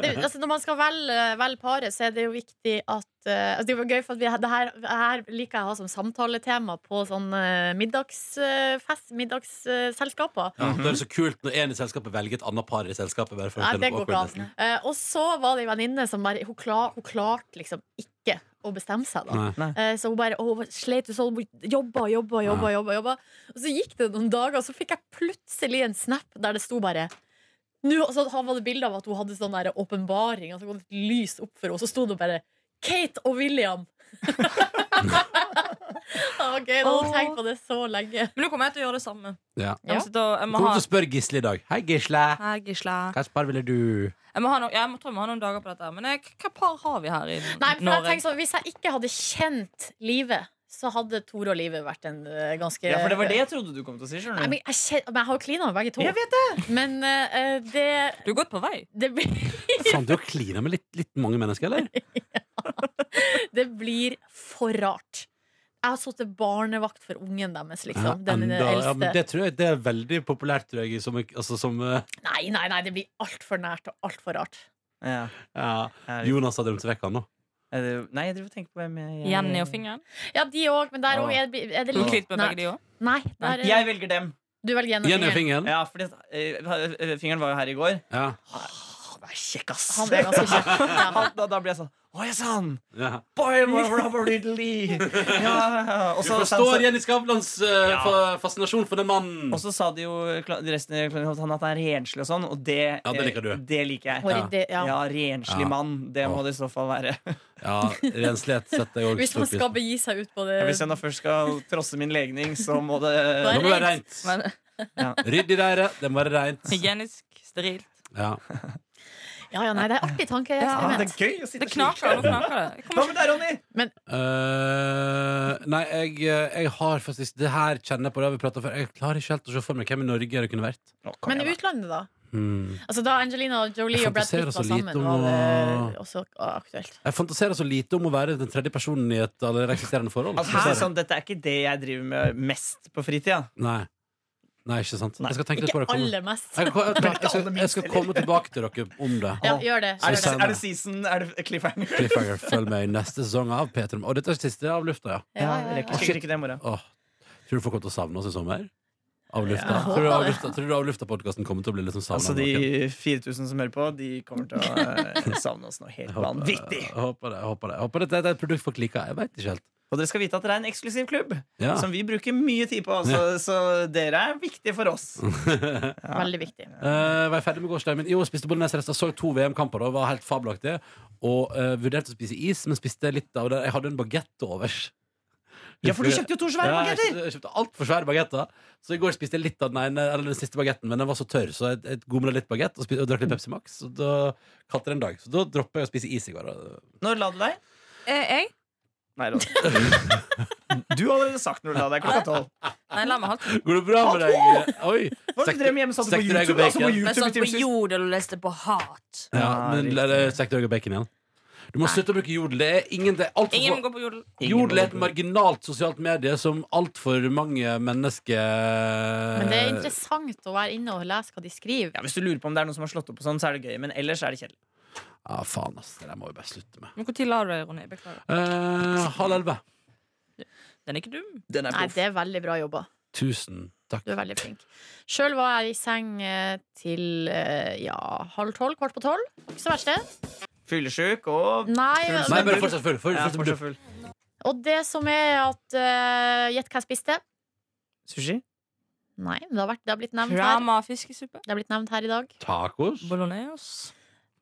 Speaker 5: Det, altså, når man skal velge vel paret, så er det jo viktig at eh, altså, Det var gøy, for at vi, det her, det her liker jeg å ha som samtaletema på sånn eh, middagsfest, middagsselskaper.
Speaker 2: Ja, Da er det så kult når en i selskapet velger et annet par i selskapet. Bare for å
Speaker 5: Nei,
Speaker 2: kjenne
Speaker 5: det
Speaker 2: på
Speaker 5: går ikke an.
Speaker 2: awkwardnessen.
Speaker 5: Eh, og så var det en venninne som bare Hun, klar, hun klarte liksom ikke å bestemme seg, da.
Speaker 2: Nei.
Speaker 5: Eh, Så hun bare å, slet jo sånn, jobba, jobba, jobba, jobba, jobba. Og så gikk det noen dager, og så fikk jeg plutselig en snap der det sto bare nå, og så var det bilde av at hun hadde sånn der åpenbaring, og så kom det et lys opp for henne, og så sto det bare 'Kate og William'. ok, da hadde jeg tenkt på det så lenge.
Speaker 3: Men nå kommer jeg til å gjøre det samme.
Speaker 2: Ja.
Speaker 3: Jeg må, sitte og, jeg
Speaker 2: Jeg
Speaker 3: må
Speaker 2: kommer
Speaker 3: ha
Speaker 2: til å spørre Gisle i dag. Hei, Gisle.
Speaker 3: Hei, Gisle.
Speaker 2: Hvilket par ville du
Speaker 3: Jeg, må ha no, jeg må, tror jeg må ha noen dager på dette. Men jeg, sånn- hva par har vi her i
Speaker 5: Nei, for jeg
Speaker 3: Norge?
Speaker 5: tenkte sånn, Hvis jeg ikke hadde kjent livet, så hadde Tore og Live vært en eh, ganske
Speaker 4: Ja, for det var det jeg trodde du kom til å si.
Speaker 5: Nei,
Speaker 4: skjønner du?
Speaker 5: men jeg, kjen- men jeg har jo klina med begge to.
Speaker 4: Jeg vet det!
Speaker 5: Men eh, det,
Speaker 3: Du er godt på vei.
Speaker 5: det, blir,
Speaker 2: Faen, du har klina med litt, litt mange mennesker, eller?
Speaker 5: det blir for rart. Jeg har sittet barnevakt for ungen deres, liksom. Den
Speaker 2: enda- ja, men
Speaker 5: eldste.
Speaker 2: det tror jeg det er veldig populært, tror jeg. Som, altså, som eh,
Speaker 5: Nei, nei, nei, det blir altfor nært og altfor rart.
Speaker 4: Ja,
Speaker 2: ja,
Speaker 4: herregud.
Speaker 2: Jonas har drømt seg vekk, han nå.
Speaker 4: Er det- Nei, jeg driver og tenker på hvem jeg
Speaker 3: Jenny og fingeren.
Speaker 5: Ja, de òg, men der
Speaker 4: Ja.
Speaker 5: òg er, det- er det
Speaker 3: Du
Speaker 5: litt
Speaker 3: klipper med begge
Speaker 5: nært.
Speaker 3: de også?
Speaker 5: Nei,
Speaker 4: Nei,
Speaker 5: der,
Speaker 4: Jeg velger dem.
Speaker 5: du velger Jenny
Speaker 2: Gjennom
Speaker 5: og fingeren.
Speaker 2: fingeren?
Speaker 4: Ja, fordi eh, Fingeren var jo her i går.
Speaker 2: Ja.
Speaker 4: Han er kjekk, ass.
Speaker 5: Han er ganske kjekk. Ja.
Speaker 4: Han- da, da blir jeg sånn Å, jeg sa han!
Speaker 2: ja.
Speaker 4: Boy, blah, blah, blah, diddly. Ja, og
Speaker 2: Du
Speaker 4: så-
Speaker 2: forstår Jenny Skavlans eh,
Speaker 4: Ja.
Speaker 2: fa- fascinasjon for den mannen.
Speaker 4: Og så sa de jo kla- de resten av klanen at han at han er renslig og sånn, og det,
Speaker 2: Ja, det liker du.
Speaker 4: eh, det liker jeg.
Speaker 5: Og i det-
Speaker 4: Ja,
Speaker 5: ja.
Speaker 4: renslig
Speaker 2: Ja.
Speaker 4: mann. Det må det i så fall være.
Speaker 2: Ja, renslighet setter jeg òg
Speaker 5: Hvis
Speaker 2: stor
Speaker 5: man
Speaker 2: pris
Speaker 5: skal
Speaker 2: på.
Speaker 5: begi seg ut på det
Speaker 4: Hvis jeg da først skal trosse min legning, så må
Speaker 2: Det
Speaker 4: det
Speaker 2: må være reint.
Speaker 3: Men
Speaker 2: Ryddig der, det må være reint.
Speaker 3: hygienisk, sterilt.
Speaker 2: Ja.
Speaker 5: Ja, ja, nei, det er artig
Speaker 4: ja,
Speaker 5: tankeeksperiment.
Speaker 4: Det er gøy å sitte
Speaker 3: Det knaker, nå knaker det. Jeg
Speaker 4: Hva
Speaker 3: kommer
Speaker 4: med deg, Ronny?
Speaker 2: Eh, nei, jeg, jeg har faktisk Det her kjenner jeg på, det har vi prata før. Jeg klarer ikke helt å se for meg hvem i Norge det kunne vært.
Speaker 4: Å, kom
Speaker 5: Men
Speaker 4: igjen, da.
Speaker 5: utlandet, da?
Speaker 2: Hmm.
Speaker 5: Altså Da Angelina Jolie
Speaker 2: Jeg
Speaker 5: og Brad Pitt
Speaker 2: fantaserer
Speaker 5: var
Speaker 2: så lite
Speaker 5: sammen,
Speaker 2: om
Speaker 5: var det
Speaker 2: å-
Speaker 5: også aktuelt.
Speaker 2: Jeg fantaserer så lite om å være den tredje personen i et allerede eksisterende forhold.
Speaker 4: Altså, for å si det
Speaker 2: Dessverre.
Speaker 4: sånn, dette er ikke det jeg driver med mest på fritida.
Speaker 2: Nei. Nei, ikke sant.
Speaker 4: Nei.
Speaker 2: Jeg skal tenke litt på det.
Speaker 5: Ikke
Speaker 2: Jeg kommer-
Speaker 5: aller mest.
Speaker 2: Jeg, jeg, jeg,
Speaker 4: ikke
Speaker 2: skal,
Speaker 4: aller
Speaker 2: jeg
Speaker 4: minst
Speaker 2: skal
Speaker 4: heller.
Speaker 2: komme tilbake til dere om det.
Speaker 5: Ja, gjør det.
Speaker 4: Er det,
Speaker 5: Gjør det.
Speaker 2: Susanne.
Speaker 4: er det season? Er det cliffhanger?
Speaker 2: Cliffhanger, følg med i neste sesong av Peter Og dette er siste av lufta, ja.
Speaker 5: Ja, ja,
Speaker 4: jeg
Speaker 5: ja.
Speaker 4: rekker sikkert ikke det i morgen.
Speaker 2: Åh. Tror du folk kommer til å savne oss i sommer? Av lufta?
Speaker 4: Ja.
Speaker 2: Tror du av lufta, tror du av lufta podkasten kommer til å bli liksom savna?
Speaker 4: Altså De 4000 som hører på, de kommer til å eh, savne oss noe helt
Speaker 2: Jeg håper,
Speaker 4: vanvittig.
Speaker 2: jeg håper det. Jeg håper det. Jeg håper dette er et produkt folk liker. Jeg vet ikke helt.
Speaker 4: Og dere skal vite at dere er en eksklusiv klubb
Speaker 2: Ja.
Speaker 4: som vi bruker mye tid på. Så, så dere er viktige for oss.
Speaker 2: Mm.
Speaker 5: Veldig viktig.
Speaker 2: Eh, var jeg ferdig med gårsdagen min? Jo, jeg spiste bolognesrester. Så to VM-kamper og var helt fabelaktig. Og eh, vurderte å spise is, men spiste litt av det. Jeg hadde en bagett til overs.
Speaker 4: Ja, for du kjøpte jo to svære
Speaker 2: Ja,
Speaker 4: bagetter!
Speaker 2: Jeg kjøpte altfor svære bagetter. Så i går spiste jeg litt av den ene, eller den siste bagetten, men den var så tørr, så jeg, jeg gomla litt bagett og, spiste- og drakk litt Pepsi Max. Og da kalte det en dag. Så da droppa jeg å spise is i går. og-
Speaker 4: Når la du deg?
Speaker 3: Eh, Jeg?
Speaker 4: Nei, Ronny. Du har allerede sagt når du la deg klokka tolv.
Speaker 3: Nei, la meg halv to.
Speaker 2: Går det bra med deg? Oi!
Speaker 4: Hva var det du drev med hjemme? Satt du på
Speaker 2: Sekter-
Speaker 4: YouTube? Altså, på
Speaker 2: egg og bacon.
Speaker 3: Jeg satt på
Speaker 4: YouTube i
Speaker 3: Jodel og leste på Hat.
Speaker 2: Ja, men
Speaker 4: Ja,
Speaker 2: eller, Sekter egg og bacon igjen. Du må slutte å bruke jodel. Det er ingen det er alt for
Speaker 3: Ingen
Speaker 2: få-
Speaker 3: går på Jodel.
Speaker 2: Jodel er et marginalt sosialt medie som altfor mange mennesker
Speaker 5: Men det er interessant å være inne og lese hva de skriver.
Speaker 4: ja, hvis du lurer på om det er noen som har slått opp, og sånn, så er det gøy. Men ellers er det kjedelig.
Speaker 2: Ja, faen, ass. Det der må vi bare slutte med.
Speaker 3: Men Når la du deg, Ronny? Beklager.
Speaker 2: Eh, halv elleve.
Speaker 3: Den er ikke dum.
Speaker 4: Den er
Speaker 5: Nei,
Speaker 4: proff.
Speaker 5: det er veldig bra jobba.
Speaker 2: Tusen takk.
Speaker 5: Du er veldig flink. Sjøl var jeg i seng eh, til eh, ja, halv tolv, kvart på tolv. Ikke så verst, det.
Speaker 4: Fyllesjuk og
Speaker 5: Nei,
Speaker 4: Full
Speaker 2: Nei,
Speaker 5: men-
Speaker 2: bare fortsett full. For,
Speaker 4: Ja,
Speaker 2: fortsett full.
Speaker 4: fortsatt full.
Speaker 5: og det som er at eh, Gjett hva jeg spiste?
Speaker 4: Sushi?
Speaker 5: Nei, men det har, vært, det har blitt nevnt her.
Speaker 3: Rama fiskesuppe.
Speaker 5: Det har blitt nevnt her i dag.
Speaker 2: Tacos?
Speaker 3: Bolognese.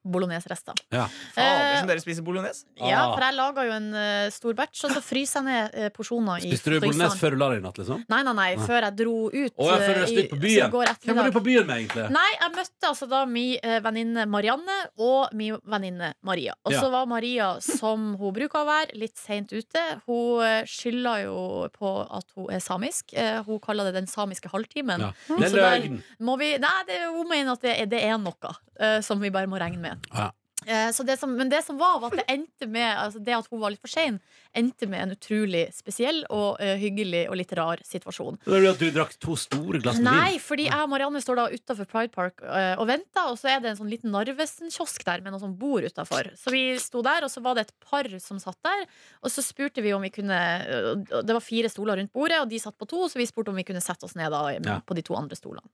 Speaker 5: Bolognesrester.
Speaker 2: Ja.
Speaker 4: Fader, som dere spiser bolognese?
Speaker 5: Eh, Ja,
Speaker 2: Ah.
Speaker 5: for jeg laga jo en eh, stor batch, og så fryser jeg ned eh, porsjoner i
Speaker 2: Spiste du
Speaker 5: fryseren.
Speaker 2: bolognese før du la deg i natt, liksom?
Speaker 5: Nei, nei, nei,
Speaker 2: Nei.
Speaker 5: før jeg dro ut.
Speaker 2: Å, jeg føler
Speaker 5: eh,
Speaker 2: jeg stilt på
Speaker 5: i-
Speaker 2: byen.
Speaker 5: så i
Speaker 2: Hvem
Speaker 5: går
Speaker 2: var du
Speaker 5: ettermiddag.
Speaker 2: på byen med, egentlig?
Speaker 5: Nei, jeg møtte altså da min eh, venninne Marianne og min venninne Maria. Og så
Speaker 2: Ja.
Speaker 5: var Maria, som hun bruker å være, litt seint ute. Hun eh, skylder jo på at hun er samisk. Eh, Hun kaller det den samiske halvtimen.
Speaker 2: Ja. Det
Speaker 5: Så
Speaker 2: er
Speaker 5: der-
Speaker 2: løgn.
Speaker 5: må vi, nei, det, hun mener at det, er- det er noe eh, som vi bare må regne med.
Speaker 2: Ja.
Speaker 5: Eh, så det som, men det som var, var at det endte med altså det at hun var litt for sein, endte med en utrolig spesiell og eh, hyggelig og litt rar situasjon.
Speaker 2: Det er at du drakk to store glass med vin.
Speaker 5: Nei, fordi jeg og Marianne står da utafor Pride Park eh, og venter, og så er det en sånn liten Narvesen-kiosk der med noen som bor utafor. Så vi sto der, og så var det et par som satt der, og så spurte vi om vi kunne og Det var fire stoler rundt bordet, og de satt på to, så vi spurte om vi kunne sette oss ned da
Speaker 2: Ja.
Speaker 5: på de to andre stolene.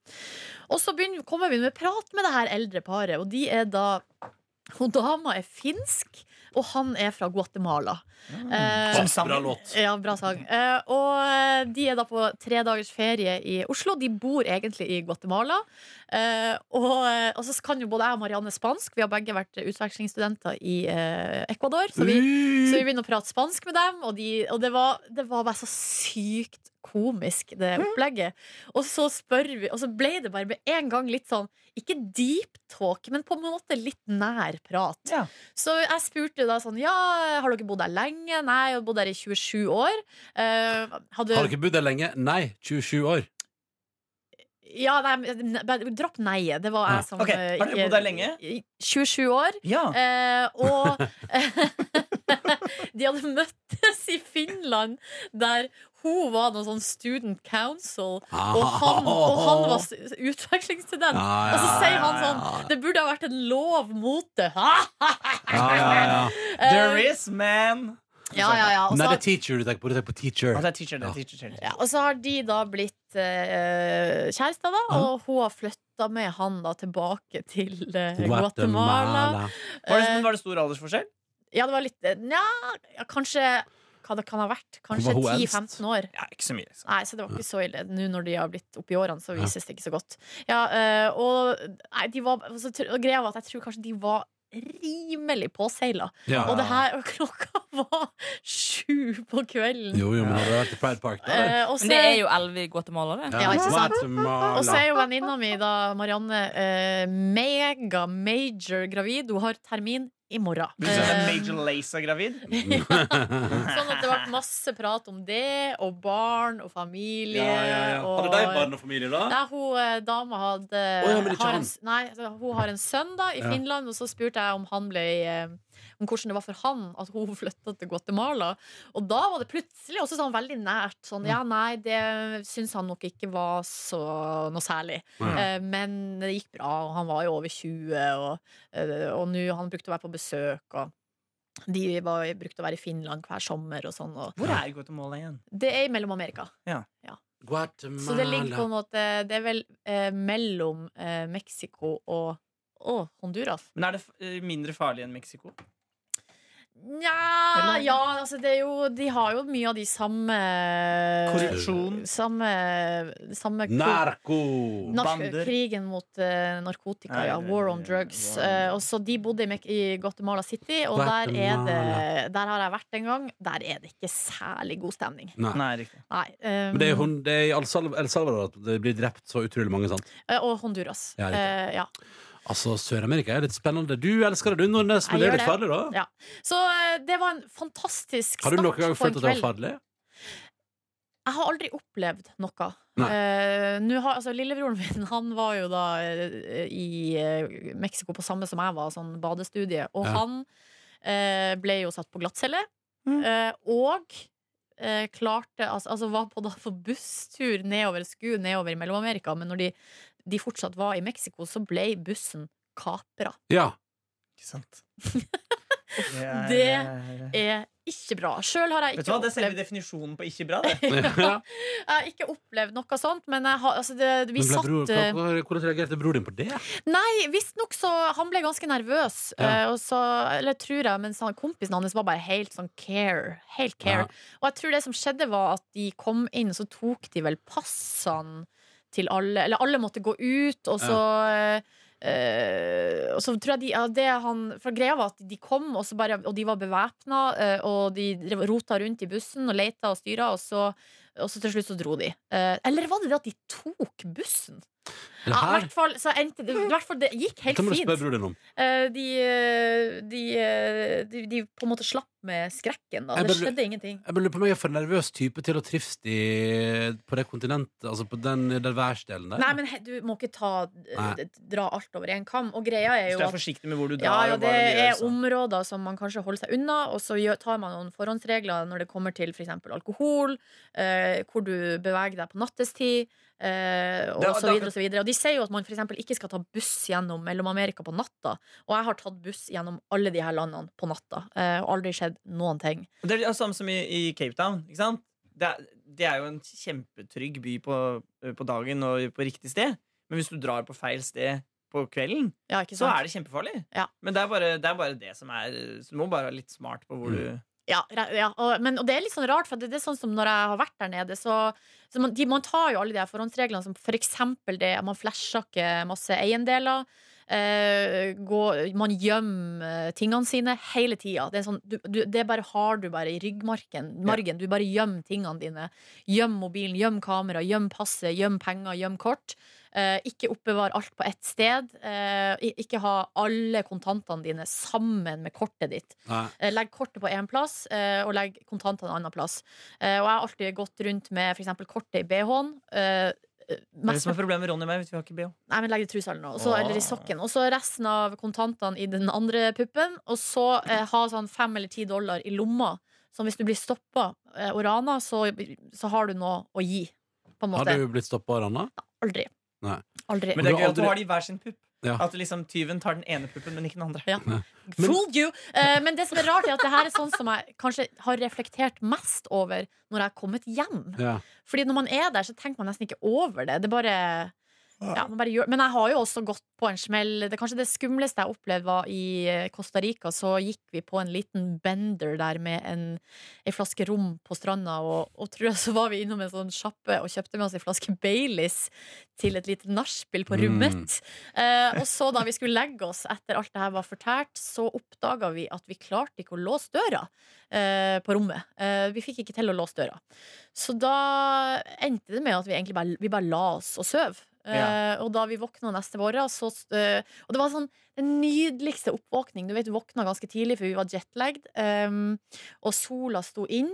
Speaker 5: Og så begynner, kommer vi med prat med det her eldre paret, og de er da Hun dama er finsk, og han er fra Guatemala. Eh,
Speaker 4: Som sammen.
Speaker 2: Bra låt.
Speaker 5: ja, bra sang. Eh, og eh, de er da på tre dagers ferie i Oslo. De bor egentlig i Guatemala. Eh, og, eh, og så kan jo både jeg og Marianne spansk. Vi har begge vært utvekslingsstudenter i eh, Ecuador. Så vi, så vi begynner å prate spansk med dem, og, de, og det, var, det var bare så sykt komisk, det
Speaker 4: Mm.
Speaker 5: opplegget. Og så spør vi, og så ble det bare med en gang litt sånn, ikke deep talk, men på en måte litt nær prat.
Speaker 4: Ja.
Speaker 5: Så jeg spurte da sånn, ja, har dere bodd her lenge? Nei, jeg har bodd her i 27 år. Eh, hadde,
Speaker 2: Har dere bodd der lenge? Nei, 27 år.
Speaker 5: Ja, nei, men- bare dropp nei-et. Det var
Speaker 2: Nei.
Speaker 5: jeg som
Speaker 4: Mm. Ok,
Speaker 5: eh,
Speaker 4: har dere
Speaker 5: ikke-
Speaker 4: bodd her lenge?
Speaker 5: i- 27 år.
Speaker 4: Ja.
Speaker 5: Eh, og de hadde møttes i Finland, der hun var noe sånn student council, og han, og han var s- utvekslingsstudent.
Speaker 2: Ah. Ja, ja,
Speaker 5: Og så sier han
Speaker 4: ja,
Speaker 2: ja,
Speaker 5: sånn Det burde ha vært en lov mot det. Eh,
Speaker 2: ja, ja, ja.
Speaker 4: There is man.
Speaker 5: Ja, ja, ja. Og
Speaker 2: Nei, det
Speaker 5: så har,
Speaker 2: er teacher du tenker på. Du tenker på teacher.
Speaker 4: Å, det er teacher, det er teacher, teacher.
Speaker 5: ja, og så har de da blitt eh, kjærester, da, og hun har flytta med han da tilbake til eh, Guatemala.
Speaker 4: Var, det,
Speaker 5: Eh,
Speaker 4: var det stor aldersforskjell?
Speaker 5: Ja, det var litt eh, Nja, ja, kanskje Hva det kan ha vært? Kanskje
Speaker 2: Hvor var hun eldst?
Speaker 5: 10-15 år.
Speaker 4: Ja, ikke så mye. liksom.
Speaker 5: Nei, så det var ikke så ille. Nå når de har blitt oppi årene, så
Speaker 2: Ja.
Speaker 5: vises det ikke så godt. Ja, eh, og nei, de var, så, tr- og greia var at jeg tror kanskje de var rimelig påseila.
Speaker 2: Ja.
Speaker 5: Og det her, og klokka var sju på kvelden.
Speaker 2: Jo, jo, men hadde det vært i Pride Park, da? eller?
Speaker 5: Eh, og
Speaker 3: Men
Speaker 5: så
Speaker 3: det er jo elleve i Guatemala, det.
Speaker 5: ja, ikke sant?
Speaker 2: Guatemala.
Speaker 5: Og så er jo venninna mi, da, Marianne, eh, mega major gravid. Hun har termin i morgen.
Speaker 4: Blir du sånn en
Speaker 5: Eh,
Speaker 4: Major Lazer gravid?
Speaker 5: Sånn at det ble masse prat om det, og barn og familie. Og,
Speaker 2: Hadde de barn og familie, da?
Speaker 5: Nei, hun eh, dama hadde
Speaker 2: Å ja, men ikke
Speaker 5: har
Speaker 2: han.
Speaker 5: en, s- Nei, altså, hun har en sønn da i
Speaker 2: Ja.
Speaker 5: Finland, og så spurte jeg om han ble eh, om hvordan det var for han at hun flytta til Guatemala. Og da var det plutselig også sånn veldig nært. Sånn, ja, nei, det syns han nok ikke var så noe særlig.
Speaker 2: Ja.
Speaker 5: Eh, men det gikk bra, og han var jo over 20, og, eh, og nå han brukte å være på besøk. og de var, brukte å være i Finland hver sommer og sånn. Og
Speaker 4: Hvor er Guatemala igjen?
Speaker 5: det er i Mellom-Amerika.
Speaker 2: Guatemala.
Speaker 5: Så det ligger på en måte Det er vel eh, mellom eh, Mexico og, og Honduras.
Speaker 4: Men er det f- eh, mindre farlig enn Mexico?
Speaker 5: Nja Ja, altså det er jo De har jo mye av de samme Eh,
Speaker 4: Korrupsjon?
Speaker 5: Samme, samme
Speaker 2: Narko!
Speaker 5: Nark
Speaker 4: Bander.
Speaker 5: krigen mot eh, narkotika,
Speaker 4: Nei,
Speaker 5: ja.
Speaker 4: det-
Speaker 5: War on drugs.
Speaker 4: War on-
Speaker 5: Eh, og så De bodde i, Mek- i Guatemala City, og der, er
Speaker 2: Guatemala.
Speaker 5: det, der har jeg vært en gang. Der er det ikke særlig god stemning.
Speaker 2: Nei.
Speaker 4: Nei, riktig.
Speaker 5: Nei, eh,
Speaker 2: Men det er, hun, det er i El Salv- El Salvador at det blir drept så utrolig mange, sant?
Speaker 5: eh, og Honduras.
Speaker 2: Ja, riktig.
Speaker 5: Eh, ja.
Speaker 2: Altså, Sør-Amerika er litt spennende. Du elsker det, du, Nordnes, men det
Speaker 5: Jeg
Speaker 2: er litt
Speaker 5: gjør
Speaker 2: farlig, da?
Speaker 5: Ja. Så eh, det var en fantastisk
Speaker 2: Har
Speaker 5: start
Speaker 2: du noen gang
Speaker 5: på en
Speaker 2: følt at det var
Speaker 5: kveld.
Speaker 2: farlig?
Speaker 5: Jeg har aldri opplevd noe.
Speaker 2: Nei.
Speaker 5: Eh, nå har, altså, lillebroren min han var jo da eh, i eh, Mexico på samme som jeg var, sånn badestudie. Og
Speaker 2: Ja.
Speaker 5: han eh, ble jo satt på glattcelle.
Speaker 4: Mm.
Speaker 5: eh, og eh, klarte altså, altså var på da for busstur nedover SKU, nedover i Mellom-Amerika. Men når de, de fortsatt var i Mexico, så ble bussen kapra.
Speaker 2: Ja.
Speaker 4: Ikke sant?
Speaker 5: Det Er Eh, ikke bra. Sjøl har jeg
Speaker 4: Vet du hva, Det
Speaker 5: ikke
Speaker 4: er
Speaker 5: opplevd
Speaker 4: selve definisjonen på ikke bra. det
Speaker 2: Ja.
Speaker 5: Jeg har ikke opplevd noe sånt, men jeg har, altså det, vi
Speaker 2: Men ble
Speaker 5: satt
Speaker 2: bror,
Speaker 5: eh,
Speaker 2: hva- hva- hvordan reagerte bror din på det?
Speaker 5: Nei, visstnok så Han ble ganske nervøs,
Speaker 2: Ja.
Speaker 5: eh, og så, eller tror jeg, mens han, kompisen hans var bare helt sånn care. Helt care.
Speaker 2: Ja.
Speaker 5: Og jeg tror det som skjedde, var at de kom inn, så tok de vel passene til alle. Eller alle måtte gå ut, og så eh, eh, og så tror jeg de, ja, det han, for greia var at de kom, og, så bare, og de var bevæpna. og de drev- rota rundt i bussen og leita og styra, og, så- og så til slutt så dro de. Eh, eller var det det at de tok bussen?
Speaker 2: Det
Speaker 5: Ja, i
Speaker 2: her
Speaker 5: hvert fall, så endte, det- i hvert fall det gikk helt
Speaker 2: Dette må du spørre
Speaker 5: fint.
Speaker 2: bror din om.
Speaker 5: Eh, De, eh, de, eh, de, de på en måte slapp med skrekken. Da.
Speaker 2: Jeg
Speaker 5: Det
Speaker 2: bare-
Speaker 5: skjedde ingenting.
Speaker 2: Jeg bare lurer på om jeg er for nervøs type til å trives i, på det kontinentet, altså på den, den værsdelen der.
Speaker 5: Nei, men he- du må ikke ta,
Speaker 2: Nei.
Speaker 5: d- dra alt over én kam. Og greia er
Speaker 4: Hvis
Speaker 5: jo
Speaker 4: du er
Speaker 5: at
Speaker 4: forsiktig med hvor du
Speaker 5: ja,
Speaker 4: drar.
Speaker 5: ja,
Speaker 4: og
Speaker 5: det
Speaker 4: hva du gjør,
Speaker 5: er
Speaker 4: så.
Speaker 5: områder som man kanskje holder seg unna, og så gjør- tar man noen forhåndsregler når det kommer til f.eks. alkohol, eh, hvor du beveger deg på nattestid, eh, og
Speaker 4: Det- det-
Speaker 5: så videre og så videre. Og de sier jo at man f.eks. ikke skal ta buss gjennom Mellom-Amerika på natta, og jeg har tatt buss gjennom alle de her landene på natta, eh, og aldri skjedd noen ting.
Speaker 4: Og Det er det samme som i, i Cape Town. Ikke sant? Det, er, det er jo en kjempetrygg by på, eh, på dagen og på riktig sted. Men hvis du drar på feil sted på kvelden,
Speaker 5: Ja, ikke
Speaker 4: så
Speaker 5: sant?
Speaker 4: er det kjempefarlig.
Speaker 5: Ja.
Speaker 4: Men det er, bare, det er bare det som er Så du må bare være litt smart på hvor du
Speaker 5: Ja, re- ja og, men, og det er litt sånn rart, for det, det er sånn som når jeg har vært der nede, så, så man, de, man tar jo alle de her forhåndsreglene, som for eksempel det man flasher ikke masse eiendeler. eh, gå, man gjemmer eh, tingene sine hele tida. Det, er sånn, du- du- det bare har du bare i ryggmargen. margen. Du bare gjemmer tingene dine. Gjem mobilen, gjem kamera, gjem passet, gjem penger, gjem kort. Eh, ikke oppbevar alt på ett sted. Eh, i- ikke ha alle kontantene dine sammen med kortet ditt.
Speaker 2: Nei.
Speaker 5: Eh, Legg kortet på én plass, eh, og legg kontantene en annen plass. Eh, Og jeg har alltid gått rundt med f.eks. kortet i BH-en. eh, eh,
Speaker 4: Det er det
Speaker 5: mest
Speaker 4: som er problemet med Ronny og meg. Vet du, vi har ikke BH.
Speaker 5: Nei, men legg det i trusa eller noe. og så-
Speaker 4: Åh.
Speaker 5: Eller i sokken. Og så resten av kontantene i den andre puppen. Og så eh, ha sånn fem eller ti dollar i lomma. Så hvis du blir stoppa eh, og rana, så, så har du noe å gi. På en
Speaker 2: Har
Speaker 5: måte.
Speaker 2: du blitt stoppa av Ranna?
Speaker 5: Aldri.
Speaker 2: Nei.
Speaker 5: Aldri.
Speaker 4: Men det
Speaker 2: Du har
Speaker 4: er gøy at du
Speaker 2: aldri-
Speaker 4: har de i hver sin pupp.
Speaker 2: Ja.
Speaker 4: At liksom tyven tar den ene puppen, men ikke den andre.
Speaker 5: Ja.
Speaker 2: Men-
Speaker 5: Fooled you! Eh, men det som er rart, er at det her er sånn som jeg kanskje har reflektert mest over når jeg har kommet hjem.
Speaker 2: Ja.
Speaker 5: Fordi når man er der, så tenker man nesten ikke over det. Det er bare ja, man bare gjør. Men jeg har jo også gått på en smell. Det kanskje det skumleste jeg opplevde var i eh, Costa Rica. Så gikk vi på en liten bender der med en, en flaske rom på stranda. Og, og tror jeg så var vi innom en sånn sjappe og kjøpte med oss en flaske Baileys til et lite nachspiel på rommet. Eh, og så da vi skulle legge oss etter alt det her var fortært, så oppdaga vi at vi klarte ikke å låse døra eh, på rommet. Eh, vi fikk ikke til å låse døra. Så da endte det med at vi egentlig bare, vi bare la oss og søv. Eh, og da vi våkna neste morgen, så eh, Og det var sånn den nydeligste oppvåkning. Du vet, du våkna ganske tidlig, for vi var jetlagd, ehm, og sola sto inn.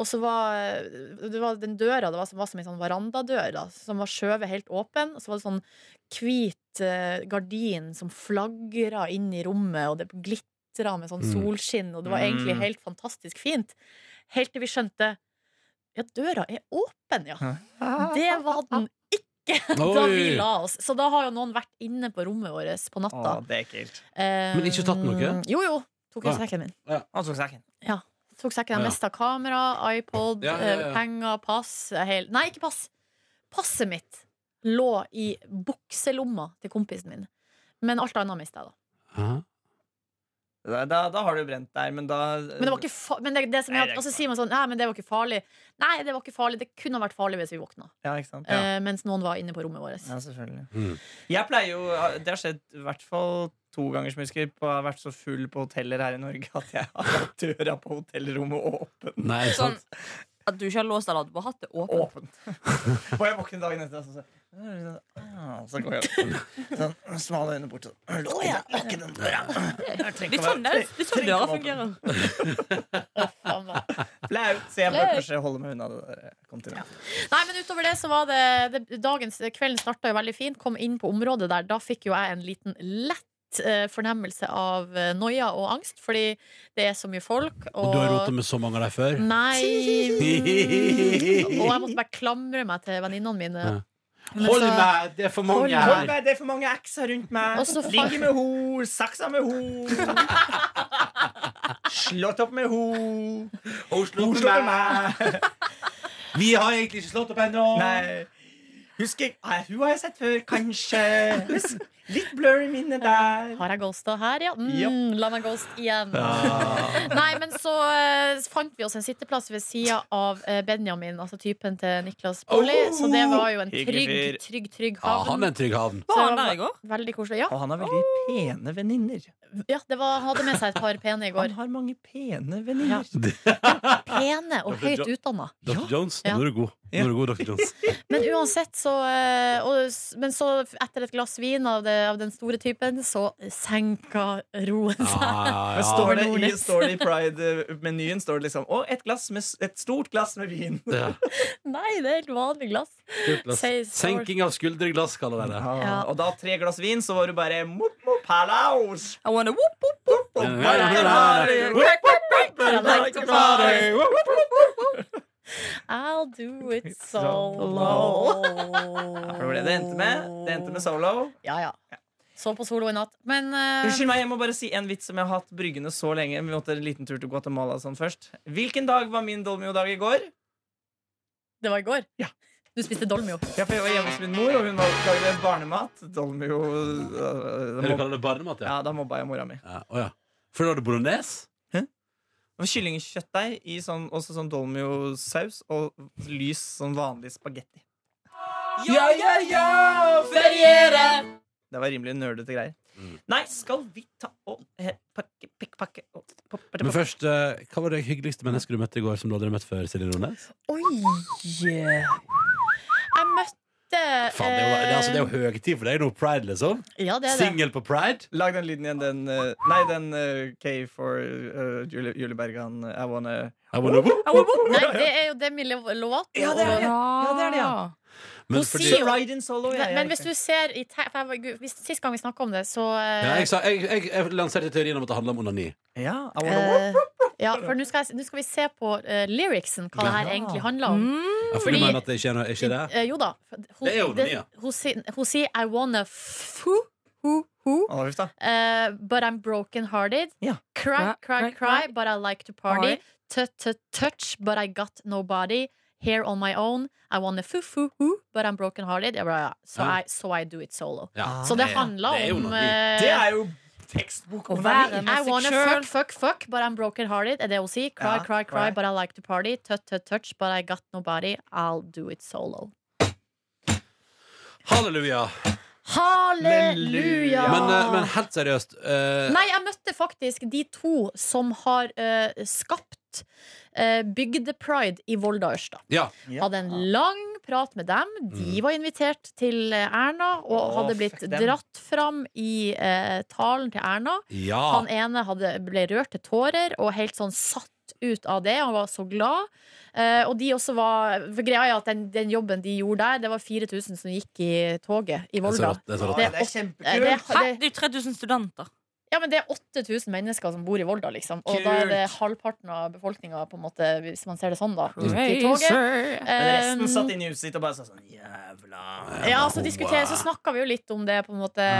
Speaker 5: Og så var eh, det var den døra det var som, var som en sånn verandadør, da, som var skjøvet helt åpen. Og så var det sånn hvit eh, gardin som flagra inn i rommet, og det glitra med sånn
Speaker 2: Mm.
Speaker 5: solskinn. Og det var egentlig
Speaker 4: Mm.
Speaker 5: helt fantastisk fint. Helt til vi skjønte Ja, døra er åpen, ja! Det var den ikke da vi
Speaker 2: Oi.
Speaker 5: la oss. Så da har jo noen vært inne på rommet vårt
Speaker 4: Å,
Speaker 5: på natta.
Speaker 4: det er ekkelt.
Speaker 5: Eh,
Speaker 2: Men ikke tatt noe?
Speaker 5: Jo, jo. Tok jo
Speaker 2: Ja.
Speaker 5: sekken min.
Speaker 4: Han tok saken.
Speaker 5: Tok
Speaker 2: Ja.
Speaker 5: sekken, Jeg mista kamera, iPod,
Speaker 2: Ja, ja, ja.
Speaker 5: eh, penger, pass eh, hel... Nei, ikke pass! Passet mitt lå i bukselomma til kompisen min. Men alt annet mista jeg, da.
Speaker 2: Hæ?
Speaker 4: Da, da, da har du brent der, men da
Speaker 5: Men det var ikke fa men det, det som
Speaker 4: Nei,
Speaker 5: er,
Speaker 4: det er
Speaker 5: at-
Speaker 4: ikke
Speaker 5: og så sier man sånn Nei, men det var ikke farlig. Nei, det var ikke farlig. Det kunne ha vært farlig hvis vi våkna.
Speaker 4: Ja, ikke sant?
Speaker 5: Eh, mens noen var inne på rommet vårt.
Speaker 4: Ja, selvfølgelig.
Speaker 2: Mm.
Speaker 4: Jeg pleier jo Det har skjedd i hvert fall to ganger som jeg husker på, jeg har vært så full på hoteller her i Norge at jeg har hatt døra på hotellrommet åpen.
Speaker 2: Nei, ikke
Speaker 3: Sånn
Speaker 2: sant?
Speaker 3: at du ikke har låst eller at du bare hatt det åpent.
Speaker 4: Åpen. Og jeg våkner dagen etter og så så- ah, Så går jeg opp. Sånn smale øyne bort sånn. Lukk den, lukk den døra. Jeg trenger
Speaker 3: Litt
Speaker 4: ikke å
Speaker 3: sånn, det
Speaker 4: være-
Speaker 3: er- litt sånn døra fungerer.
Speaker 5: Faen meg.
Speaker 4: Flaut. Så jeg bør
Speaker 5: Flaut.
Speaker 4: kanskje holde meg unna det der eh, kontinentet.
Speaker 5: Nei, men utover det så var det, det dagens, eh, Kvelden starta jo veldig fint. Kom inn på området der. Da fikk jo jeg en liten lett eh, fornemmelse av eh, noia og angst, fordi det er så mye folk. Sånn, Og, Mm,
Speaker 2: Og du har rota med så mange av dem før?
Speaker 5: Nei. mm. Og jeg måtte bare klamre meg til venninnene mine.
Speaker 2: Ja.
Speaker 5: Men
Speaker 2: Hold
Speaker 5: så-
Speaker 2: meg, det er for
Speaker 5: Hold
Speaker 2: mange
Speaker 5: meg.
Speaker 4: Hold
Speaker 2: her!
Speaker 4: meg, det er for mange ekser rundt meg.
Speaker 5: Og så fa-
Speaker 4: Ligger med ho, saksa med ho. Slått opp med ho.
Speaker 2: Oslo
Speaker 4: Hun
Speaker 2: for
Speaker 4: slår
Speaker 2: meg.
Speaker 4: meg.
Speaker 2: Vi har egentlig ikke slått opp ennå!
Speaker 4: Nei. Husker jeg Nei, Hun har jeg sett før, kanskje. Hus- Litt blurry minne der.
Speaker 5: Har jeg ghosta her, ja? Mm,
Speaker 4: Japp.
Speaker 5: La meg ghost igjen.
Speaker 2: Ah.
Speaker 5: Nei, men så eh, fant vi oss en sitteplass ved sida av eh, Benjamin, altså typen til Niklas Baarli. så det var jo en
Speaker 4: Oh, Hyggelig
Speaker 5: trygg,
Speaker 4: fyr.
Speaker 5: trygg, trygg
Speaker 2: Ja,
Speaker 5: havn.
Speaker 2: han er en trygg havn.
Speaker 3: Var han der i går?
Speaker 5: Veldig koselig. Ja,
Speaker 4: Og han har veldig pene venninner.
Speaker 5: ja det var, han hadde med seg et par pene i går.
Speaker 4: Han har mange pene venninner.
Speaker 5: Pene og
Speaker 2: Dr.
Speaker 5: høyt
Speaker 2: Jo-
Speaker 5: utdanna.
Speaker 2: Dr. Jones,
Speaker 5: Ja.
Speaker 2: nå er du god. Nå er du god, Dr. Jones.
Speaker 5: Men uansett, så eh, og, s- Men så, etter et glass vin av, det, av den store typen, så senka roen seg.
Speaker 2: Ah,
Speaker 4: Men
Speaker 2: ja.
Speaker 4: står det, i,
Speaker 5: Nordnes.
Speaker 4: står det i pride-menyen Står det liksom Å, et, glass med, s- et stort glass med vin.
Speaker 2: Ja.
Speaker 5: Nei, det er helt vanlig glass.
Speaker 2: Kult glass.
Speaker 5: Say so.
Speaker 2: Senking av skulderglass, kaller de det.
Speaker 5: Ja.
Speaker 4: Og da tre glass vin, så var du bare mop, mop, palaus.
Speaker 3: I wanna whoop, whoop, whoop.
Speaker 5: I'll do it solo.
Speaker 4: Solo. For det var det det endte med. Det endte med solo.
Speaker 5: Ja, ja. Så på solo i natt. Men eh,
Speaker 4: Unnskyld meg, jeg må bare si en vits som jeg har hatt bryggende så lenge. Vi måtte en liten tur til Guatemala og sånn først. Hvilken dag var min dolmio-dag i går?
Speaker 5: det var i går.
Speaker 4: Ja.
Speaker 5: Du spiste dolmio.
Speaker 4: Ja, for jeg var hjemme hos min mor, og hun var- lagde barnemat. Dolmio øh,
Speaker 2: Eller
Speaker 4: da mob-
Speaker 2: kaller det barnemat, ja.
Speaker 4: Ja, da mobba jeg mora mi.
Speaker 2: ja. å ja. For da har du bolognese?
Speaker 4: Og Kyllingkjøttdeig i sånn, også sånn dolmio-saus og lys sånn vanlig spagetti.
Speaker 2: Ja, ja, ja, feriere!
Speaker 4: Det var rimelig nerdete greier.
Speaker 2: Mm.
Speaker 4: Nei, skal vi ta og eh, pakke, pakke, pakke og, pakke, pakke.
Speaker 2: Men først, eh, hva var det hyggeligste mennesket du møtte i går som du hadde møtt før, Silje Nordnes?
Speaker 5: Oi! Jeg møtte
Speaker 2: Faen, det er jo, det, er altså, det er
Speaker 5: eh,
Speaker 2: jo høytid for deg nå, pride, liksom.
Speaker 5: Ja, det er det.
Speaker 2: Singel på pride.
Speaker 4: Lag den lyden igjen. Den, eh, nei, den eh, K for eh, Julie, Julie Bergan. I wanna
Speaker 2: Jeg må nå-
Speaker 5: Nei, det er jo Demi Lo- Lovato.
Speaker 4: Ja, det er det. Ja, det er det, ja.
Speaker 2: Men
Speaker 5: Hun
Speaker 2: fordi-
Speaker 5: sier jo-
Speaker 4: Ride in solo. ja,
Speaker 5: Men,
Speaker 4: ja,
Speaker 5: men hvis
Speaker 4: riktig.
Speaker 5: du ser i te- for jeg var- gud, hvis, Sist gang vi snakka om det, så
Speaker 2: ja,
Speaker 5: eh,
Speaker 2: jeg, sa, jeg, jeg, jeg lanserte teorien om at det handla om onani.
Speaker 4: Ja, I wanna walk.
Speaker 5: eh, Ja, for nå skal, jeg, nå skal vi se på eh, lyricsen, hva det her
Speaker 4: Ja.
Speaker 5: egentlig handler om.
Speaker 3: Mm.
Speaker 2: Ja, for
Speaker 5: Fordi-
Speaker 2: du mener at det ikke er, noe- ikke er det?
Speaker 5: Eh, jo da. for Hun,
Speaker 2: Det er jo
Speaker 5: det-
Speaker 2: onani, ja.
Speaker 5: hun, sier- hun sier I wanna foo, who, who,
Speaker 4: Å, huff da.
Speaker 5: eh, but I'm broken hearted.
Speaker 4: Ja.
Speaker 5: Cry, cry,
Speaker 3: Cry,
Speaker 5: cry,
Speaker 3: cry.
Speaker 5: but I like to party. T-t- Touch, but I got nobody. Here on my own. I wanna foo, foo, who, but I'm broken hearted. Jeg bare, ja. so,
Speaker 2: Ja. Ah,
Speaker 5: I, so I do it solo.
Speaker 2: Ja.
Speaker 5: Så det
Speaker 2: er-
Speaker 5: handler
Speaker 2: det er
Speaker 5: om
Speaker 2: onani.
Speaker 5: eh,
Speaker 4: Det er jo tekstbok
Speaker 3: Å
Speaker 4: om
Speaker 3: være
Speaker 4: verden.
Speaker 3: med
Speaker 5: I
Speaker 3: seg
Speaker 5: wanna
Speaker 3: selv.
Speaker 5: fuck, fuck, fuck, but I'm broken hearted. Er det hun sier? Cry,
Speaker 4: Ja,
Speaker 5: cry, cry,
Speaker 4: cry.
Speaker 5: but I like to party. Touch, touch, touch, but I got nobody. I'll do it solo.
Speaker 2: Halleluja.
Speaker 5: Halleluja!
Speaker 4: Ja.
Speaker 2: Men, eh, men helt seriøst eh,
Speaker 5: Nei, jeg møtte faktisk de to som har eh, skapt eh, bygdepride i Volda og Ørsta.
Speaker 2: Ja.
Speaker 4: Ja.
Speaker 5: Hadde en lang prat med dem. De var invitert til eh, Erna og
Speaker 4: Å,
Speaker 5: hadde
Speaker 4: fuck
Speaker 5: blitt
Speaker 4: dem.
Speaker 5: dratt fram i eh, talen til Erna.
Speaker 2: ja.
Speaker 5: Han ene hadde, ble rørt til tårer og helt sånn satt ut av det. Han var så glad. Eh, og de også var For greia er at den, den jobben de gjorde der, det var 4000 som gikk i toget
Speaker 2: Det er
Speaker 5: i
Speaker 2: så
Speaker 5: Volda.
Speaker 2: rått. Det er så
Speaker 4: Ja,
Speaker 2: rått.
Speaker 4: det
Speaker 5: det er
Speaker 4: er
Speaker 5: Eh, det,
Speaker 4: kjempekult.
Speaker 3: Hæ?
Speaker 5: det,
Speaker 3: Det er jo 3000 studenter.
Speaker 5: ja, men det er 8000 mennesker som bor i Volda, liksom. Og da er det halvparten av befolkninga, på en måte, hvis man ser det sånn, da. Ut i toget.
Speaker 4: Men resten
Speaker 5: Eh,
Speaker 4: satt inne i huset sitt og bare sa sånn Jævla
Speaker 5: Ja, så, diskuterer- så snakka vi jo litt om det, på en måte.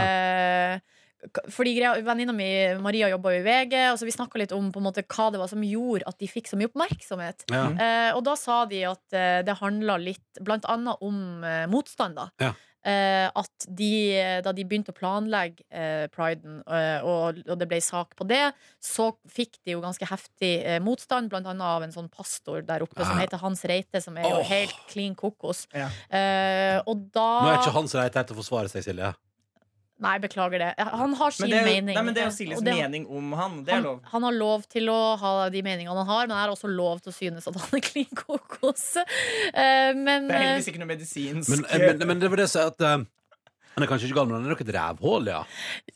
Speaker 5: K- Fordi greia- Venninna mi Maria jobba jo i VG, og så vi snakka litt om på en måte, hva det var som gjorde at de fikk så mye oppmerksomhet.
Speaker 2: Ja.
Speaker 5: Eh, og da sa de at eh, det handla litt blant annet om eh, motstand, da.
Speaker 2: Ja.
Speaker 5: Eh, at de, eh, da de begynte å planlegge eh, priden, eh, og, og det ble sak på det, så fikk de jo ganske heftig eh, motstand, blant annet av en sånn pastor der oppe som
Speaker 2: Ja.
Speaker 5: heter Hans Reite, som er jo
Speaker 2: Åh.
Speaker 5: helt clean kokos.
Speaker 4: Ja.
Speaker 5: Eh, og
Speaker 2: Nå er ikke
Speaker 5: da
Speaker 2: han så reit her til å forsvare seg, Silje.
Speaker 5: Nei, beklager det. Han har sin
Speaker 4: Men det er, jo-
Speaker 5: mening.
Speaker 4: nei, men det er jo
Speaker 5: Og
Speaker 4: Siljes
Speaker 5: det-
Speaker 4: mening om han. Det er
Speaker 5: han,
Speaker 4: lov.
Speaker 5: han har lov til å ha de meningene han har, men han har også lov til å synes at han er klin kokos. Eh, men
Speaker 4: Det er
Speaker 5: eh,
Speaker 4: heldigvis ikke noe medisinsk
Speaker 2: Men, eh, men, men det var det jeg sa at eh, han er kanskje ikke gal, men han er nok et rævhål, ja.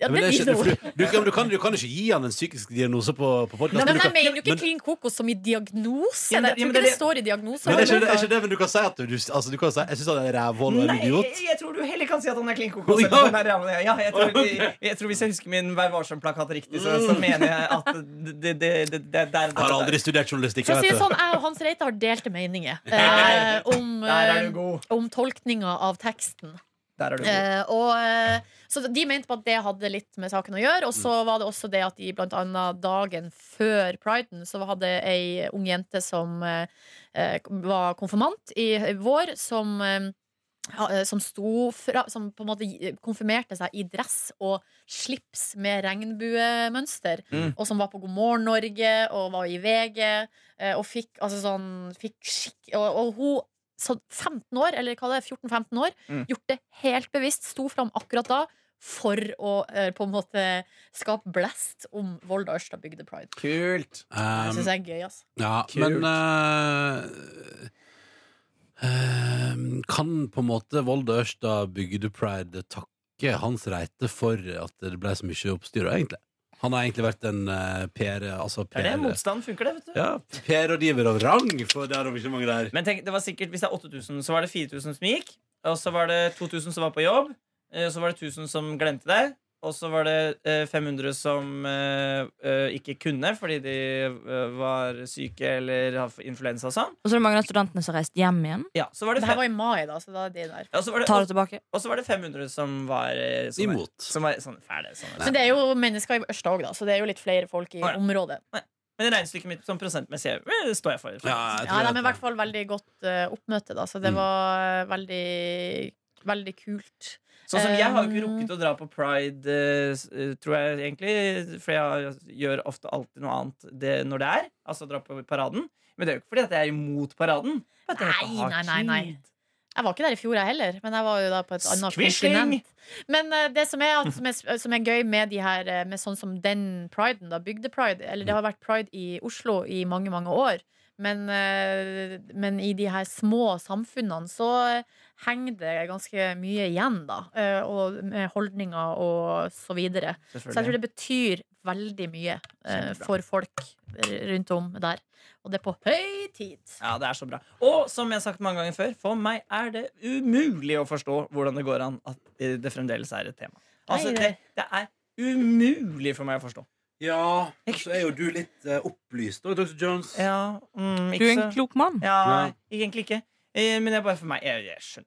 Speaker 5: ja,
Speaker 2: Men
Speaker 5: det
Speaker 2: det er ikke,
Speaker 5: liker
Speaker 2: for
Speaker 5: hun.
Speaker 2: du, du, kan- du, kan, du kan ikke gi han en psykisk diagnose på, på
Speaker 5: Nei,
Speaker 2: podkasten.
Speaker 5: men jeg
Speaker 2: Men,
Speaker 5: mener jo ikke
Speaker 2: men-
Speaker 5: klin kokos som i diagnose.
Speaker 4: Ja, men det- ja, men
Speaker 5: jeg tror ikke
Speaker 4: det-
Speaker 5: det står i diagnose.
Speaker 2: det er ikke, det er ikke det, men du kan si at du, altså, du kan si, Jeg syns han er rævhål og en
Speaker 4: Nei,
Speaker 2: idiot.
Speaker 4: jeg, jeg tror du heller kan si at han er klin kokos.
Speaker 2: Å,
Speaker 4: eller
Speaker 2: ja.
Speaker 4: at han er ræva. Ja, jeg, tror, jeg, jeg tror Hvis jeg husker min Vær varsom-plakat riktig, så,
Speaker 2: Mm.
Speaker 4: så mener jeg at det, det, det, det, det er der,
Speaker 2: Jeg har aldri studert journalistikk.
Speaker 5: For å si
Speaker 2: jeg vet
Speaker 5: det sånn, jeg og Hans Reite har delte meninger eh,
Speaker 4: Nei.
Speaker 5: om,
Speaker 4: der er du
Speaker 5: eh,
Speaker 4: god.
Speaker 5: om tolkninga av teksten.
Speaker 4: Der er du god.
Speaker 5: Eh, og, eh, så de mente på at det hadde litt med saken å gjøre. Og så var det også det at de blant annet dagen før priden så hadde ei ung jente som eh, eh, var konfirmant i vår, som eh, ha- eh, som, sto fra, som på en måte gi- konfirmerte seg i dress og slips med regnbuemønster.
Speaker 4: Mm.
Speaker 5: Og som var på God morgen Norge og var i VG. eh, Og fikk altså sånn fikk skikk, og, og hun så 15 år, eller hva det er, 14-15 år,
Speaker 4: Mm.
Speaker 5: gjort det helt bevisst, sto fram akkurat da for å eh, på en måte skape blest om Volda og Ørsta bygde pride.
Speaker 4: Kult.
Speaker 5: Det
Speaker 2: Um,
Speaker 5: syns jeg er gøy, altså.
Speaker 2: Ja,
Speaker 4: Kult.
Speaker 2: men eh, eh, Kan på en måte Volda Ørsta Bygdepride takke Hans Reite for at det ble så mye oppstyr, egentlig? Han har egentlig vært en eh, PR Altså
Speaker 4: Det er det.
Speaker 2: PR
Speaker 4: Motstand funker, det. vet du
Speaker 2: ja, PR-rådgiver av rang for det arrangementet der.
Speaker 4: Men tenk, det var sikkert, hvis det er 8000, så var det 4000 som gikk. Og så var det 2000 som var på jobb. eh, Og så var det 1000 som glemte det. Og så var det eh, 500 som eh, eh, ikke kunne fordi de eh, var syke eller har influensa og sånn.
Speaker 3: Og så er det mange av studentene som har reist hjem igjen.
Speaker 4: Ja, så var det
Speaker 5: Det her
Speaker 4: fem,
Speaker 5: var i mai, da, så da er de der.
Speaker 4: og, så var det,
Speaker 3: Tar
Speaker 4: og,
Speaker 3: det tilbake.
Speaker 4: så var det 500 som var eh, som var-
Speaker 2: Imot.
Speaker 4: Som var sånn fæle. Sånn,
Speaker 5: Men det er jo mennesker i Ørsta òg, da, så det er jo litt flere folk i
Speaker 4: Å, ja.
Speaker 5: området.
Speaker 4: Men regnestykket mitt sånn prosentmessig eh, det står jeg for.
Speaker 2: Ja, jeg
Speaker 5: Ja,
Speaker 2: tror
Speaker 5: nei,
Speaker 2: at-
Speaker 5: men i hvert fall veldig godt eh, oppmøte, da, så det
Speaker 2: Mm.
Speaker 5: var eh, veldig, veldig kult.
Speaker 4: Sånn som Jeg har jo ikke
Speaker 5: Um,
Speaker 4: rukket å dra på pride, eh, s- eh, tror jeg egentlig. For jeg altså, gjør ofte alltid noe annet det, når det er. Altså dra på paraden. Men det er jo ikke fordi at jeg er imot paraden. men at jeg
Speaker 5: Nei,
Speaker 4: ikke har
Speaker 5: nei, nei, nei.
Speaker 4: tid.
Speaker 5: Jeg var ikke der i fjor, jeg heller, men jeg var jo da på et annet
Speaker 4: Squishing!
Speaker 5: kontinent. Men eh, det som er, at, som, er, som er gøy med de her eh, Med sånn som den priden, da, bygdepride Eller det har vært pride i Oslo i mange, mange år. Men, eh, men i de her små samfunnene så eh, henger det ganske mye igjen, da. eh, Og med holdninger og så videre. Så jeg tror
Speaker 4: Selvfølgelig.
Speaker 5: det betyr veldig mye eh,
Speaker 4: Kjempebra.
Speaker 5: for folk r- rundt om der. Og det er på høy tid.
Speaker 4: Ja, det er så bra. Og som jeg har sagt mange ganger før, for meg er det umulig å forstå hvordan det går an at eh, det fremdeles er et tema. Altså,
Speaker 5: Nei,
Speaker 4: det, det
Speaker 5: det-
Speaker 4: er umulig for meg å forstå.
Speaker 2: Ja, så er jo du litt eh, opplyst òg, Dr. Jones.
Speaker 4: Ja, mm,
Speaker 3: Du er
Speaker 4: ikke
Speaker 3: en
Speaker 4: så
Speaker 3: klok mann.
Speaker 4: Ja,
Speaker 2: Ja.
Speaker 4: egentlig ikke. Eh, Men det er bare for meg. Jeg, jeg skjønner.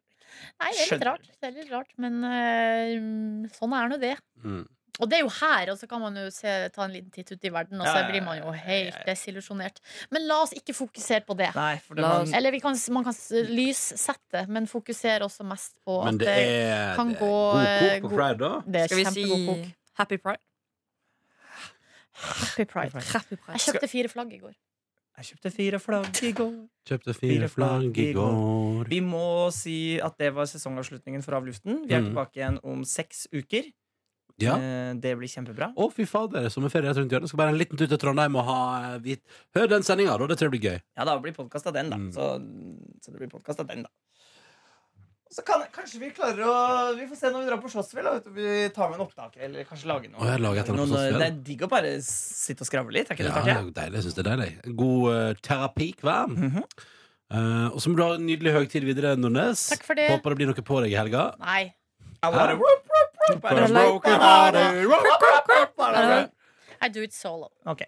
Speaker 5: Nei, det er litt
Speaker 4: Skjønner.
Speaker 5: rart, det er litt rart men eh, sånn er nå det.
Speaker 2: Mm.
Speaker 5: Og det er jo her, og så kan man jo se, ta en liten titt ut i verden, og
Speaker 4: Ja,
Speaker 5: så
Speaker 4: ja, ja,
Speaker 5: blir man jo
Speaker 4: ja, ja,
Speaker 5: helt
Speaker 4: ja.
Speaker 5: desillusjonert. Men la oss ikke fokusere på det.
Speaker 4: Nei, for det
Speaker 3: La
Speaker 4: var
Speaker 3: oss-
Speaker 5: Eller vi kan, man kan s- lyssette, men fokusere også mest på
Speaker 2: Men
Speaker 5: at
Speaker 2: det er,
Speaker 5: kan
Speaker 2: det er
Speaker 5: gå,
Speaker 2: god
Speaker 5: eh,
Speaker 2: kok på
Speaker 5: god-
Speaker 2: Pride, da.
Speaker 5: det er
Speaker 3: Skal vi si
Speaker 5: kjempegod kok.
Speaker 3: Happy Pride?
Speaker 5: Happy pride.
Speaker 3: Happy Pride.
Speaker 5: Jeg kjøpte fire flagg i går.
Speaker 4: Jeg kjøpte fire flagg i går.
Speaker 2: Kjøpte
Speaker 4: Fire
Speaker 2: fire
Speaker 4: flagg
Speaker 2: flagg i
Speaker 4: i
Speaker 2: går.
Speaker 4: Vi må si at det var sesongavslutningen for Av luften. Vi er
Speaker 2: Mm.
Speaker 4: tilbake igjen om seks uker.
Speaker 2: Ja.
Speaker 4: Eh, Det blir kjempebra.
Speaker 2: Å, fy fader, sommerferie rett rundt hjørnet. Skal bare en liten tur til Trondheim og ha eh, hvit Hør den sendinga, da. Det tror jeg blir gøy.
Speaker 4: Ja, da blir podkast av den, da.
Speaker 2: Mm.
Speaker 4: Så, så det blir podcast av den, da. Og Så kan, kanskje vi klarer å Vi får se når vi drar på Slottsfjell. da, vet du. Vi tar med en opptaker eller kanskje lager noe.
Speaker 2: Å, jeg lager et eller annet på
Speaker 4: Noe-
Speaker 2: Slottsfjell.
Speaker 4: det er digg å bare sitte og skravle litt. Er ikke
Speaker 2: Ja,
Speaker 4: det
Speaker 2: det
Speaker 4: ja,
Speaker 2: er jo deilig. Jeg syns det er deilig. God eh, terapikvern.
Speaker 4: Mhm.
Speaker 2: Eh, og så må du ha en nydelig høytid videre, Nordnes.
Speaker 5: Takk for det.
Speaker 2: Håper det blir noe på deg i helga.
Speaker 5: Nei.
Speaker 4: bare, whoop, whoop, whoop, bare-
Speaker 3: Bare-
Speaker 5: I do it solo.
Speaker 4: Ok.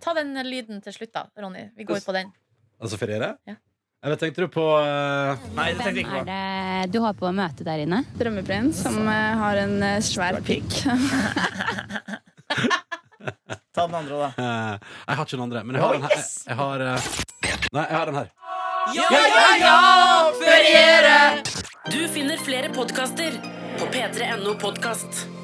Speaker 5: Ta den lyden til slutt, da, Ronny. Vi går på den.
Speaker 2: Altså feriere?
Speaker 5: Ja.
Speaker 2: Eller tenkte du på eh,
Speaker 4: Nei, det tenkte jeg
Speaker 1: Hvem
Speaker 4: ikke
Speaker 1: er
Speaker 4: på.
Speaker 1: det du har på møte der inne?
Speaker 6: Drømmeprins som eh, har en eh, svær pikk.
Speaker 4: Ta den andre, da.
Speaker 2: eh, Jeg har ikke den andre, men jeg har
Speaker 4: Å,
Speaker 2: den her. Jeg,
Speaker 4: yes!
Speaker 2: jeg har, eh, nei, jeg har den her.
Speaker 4: Ja, ja,
Speaker 3: Du finner flere podkaster på p3.no podkast.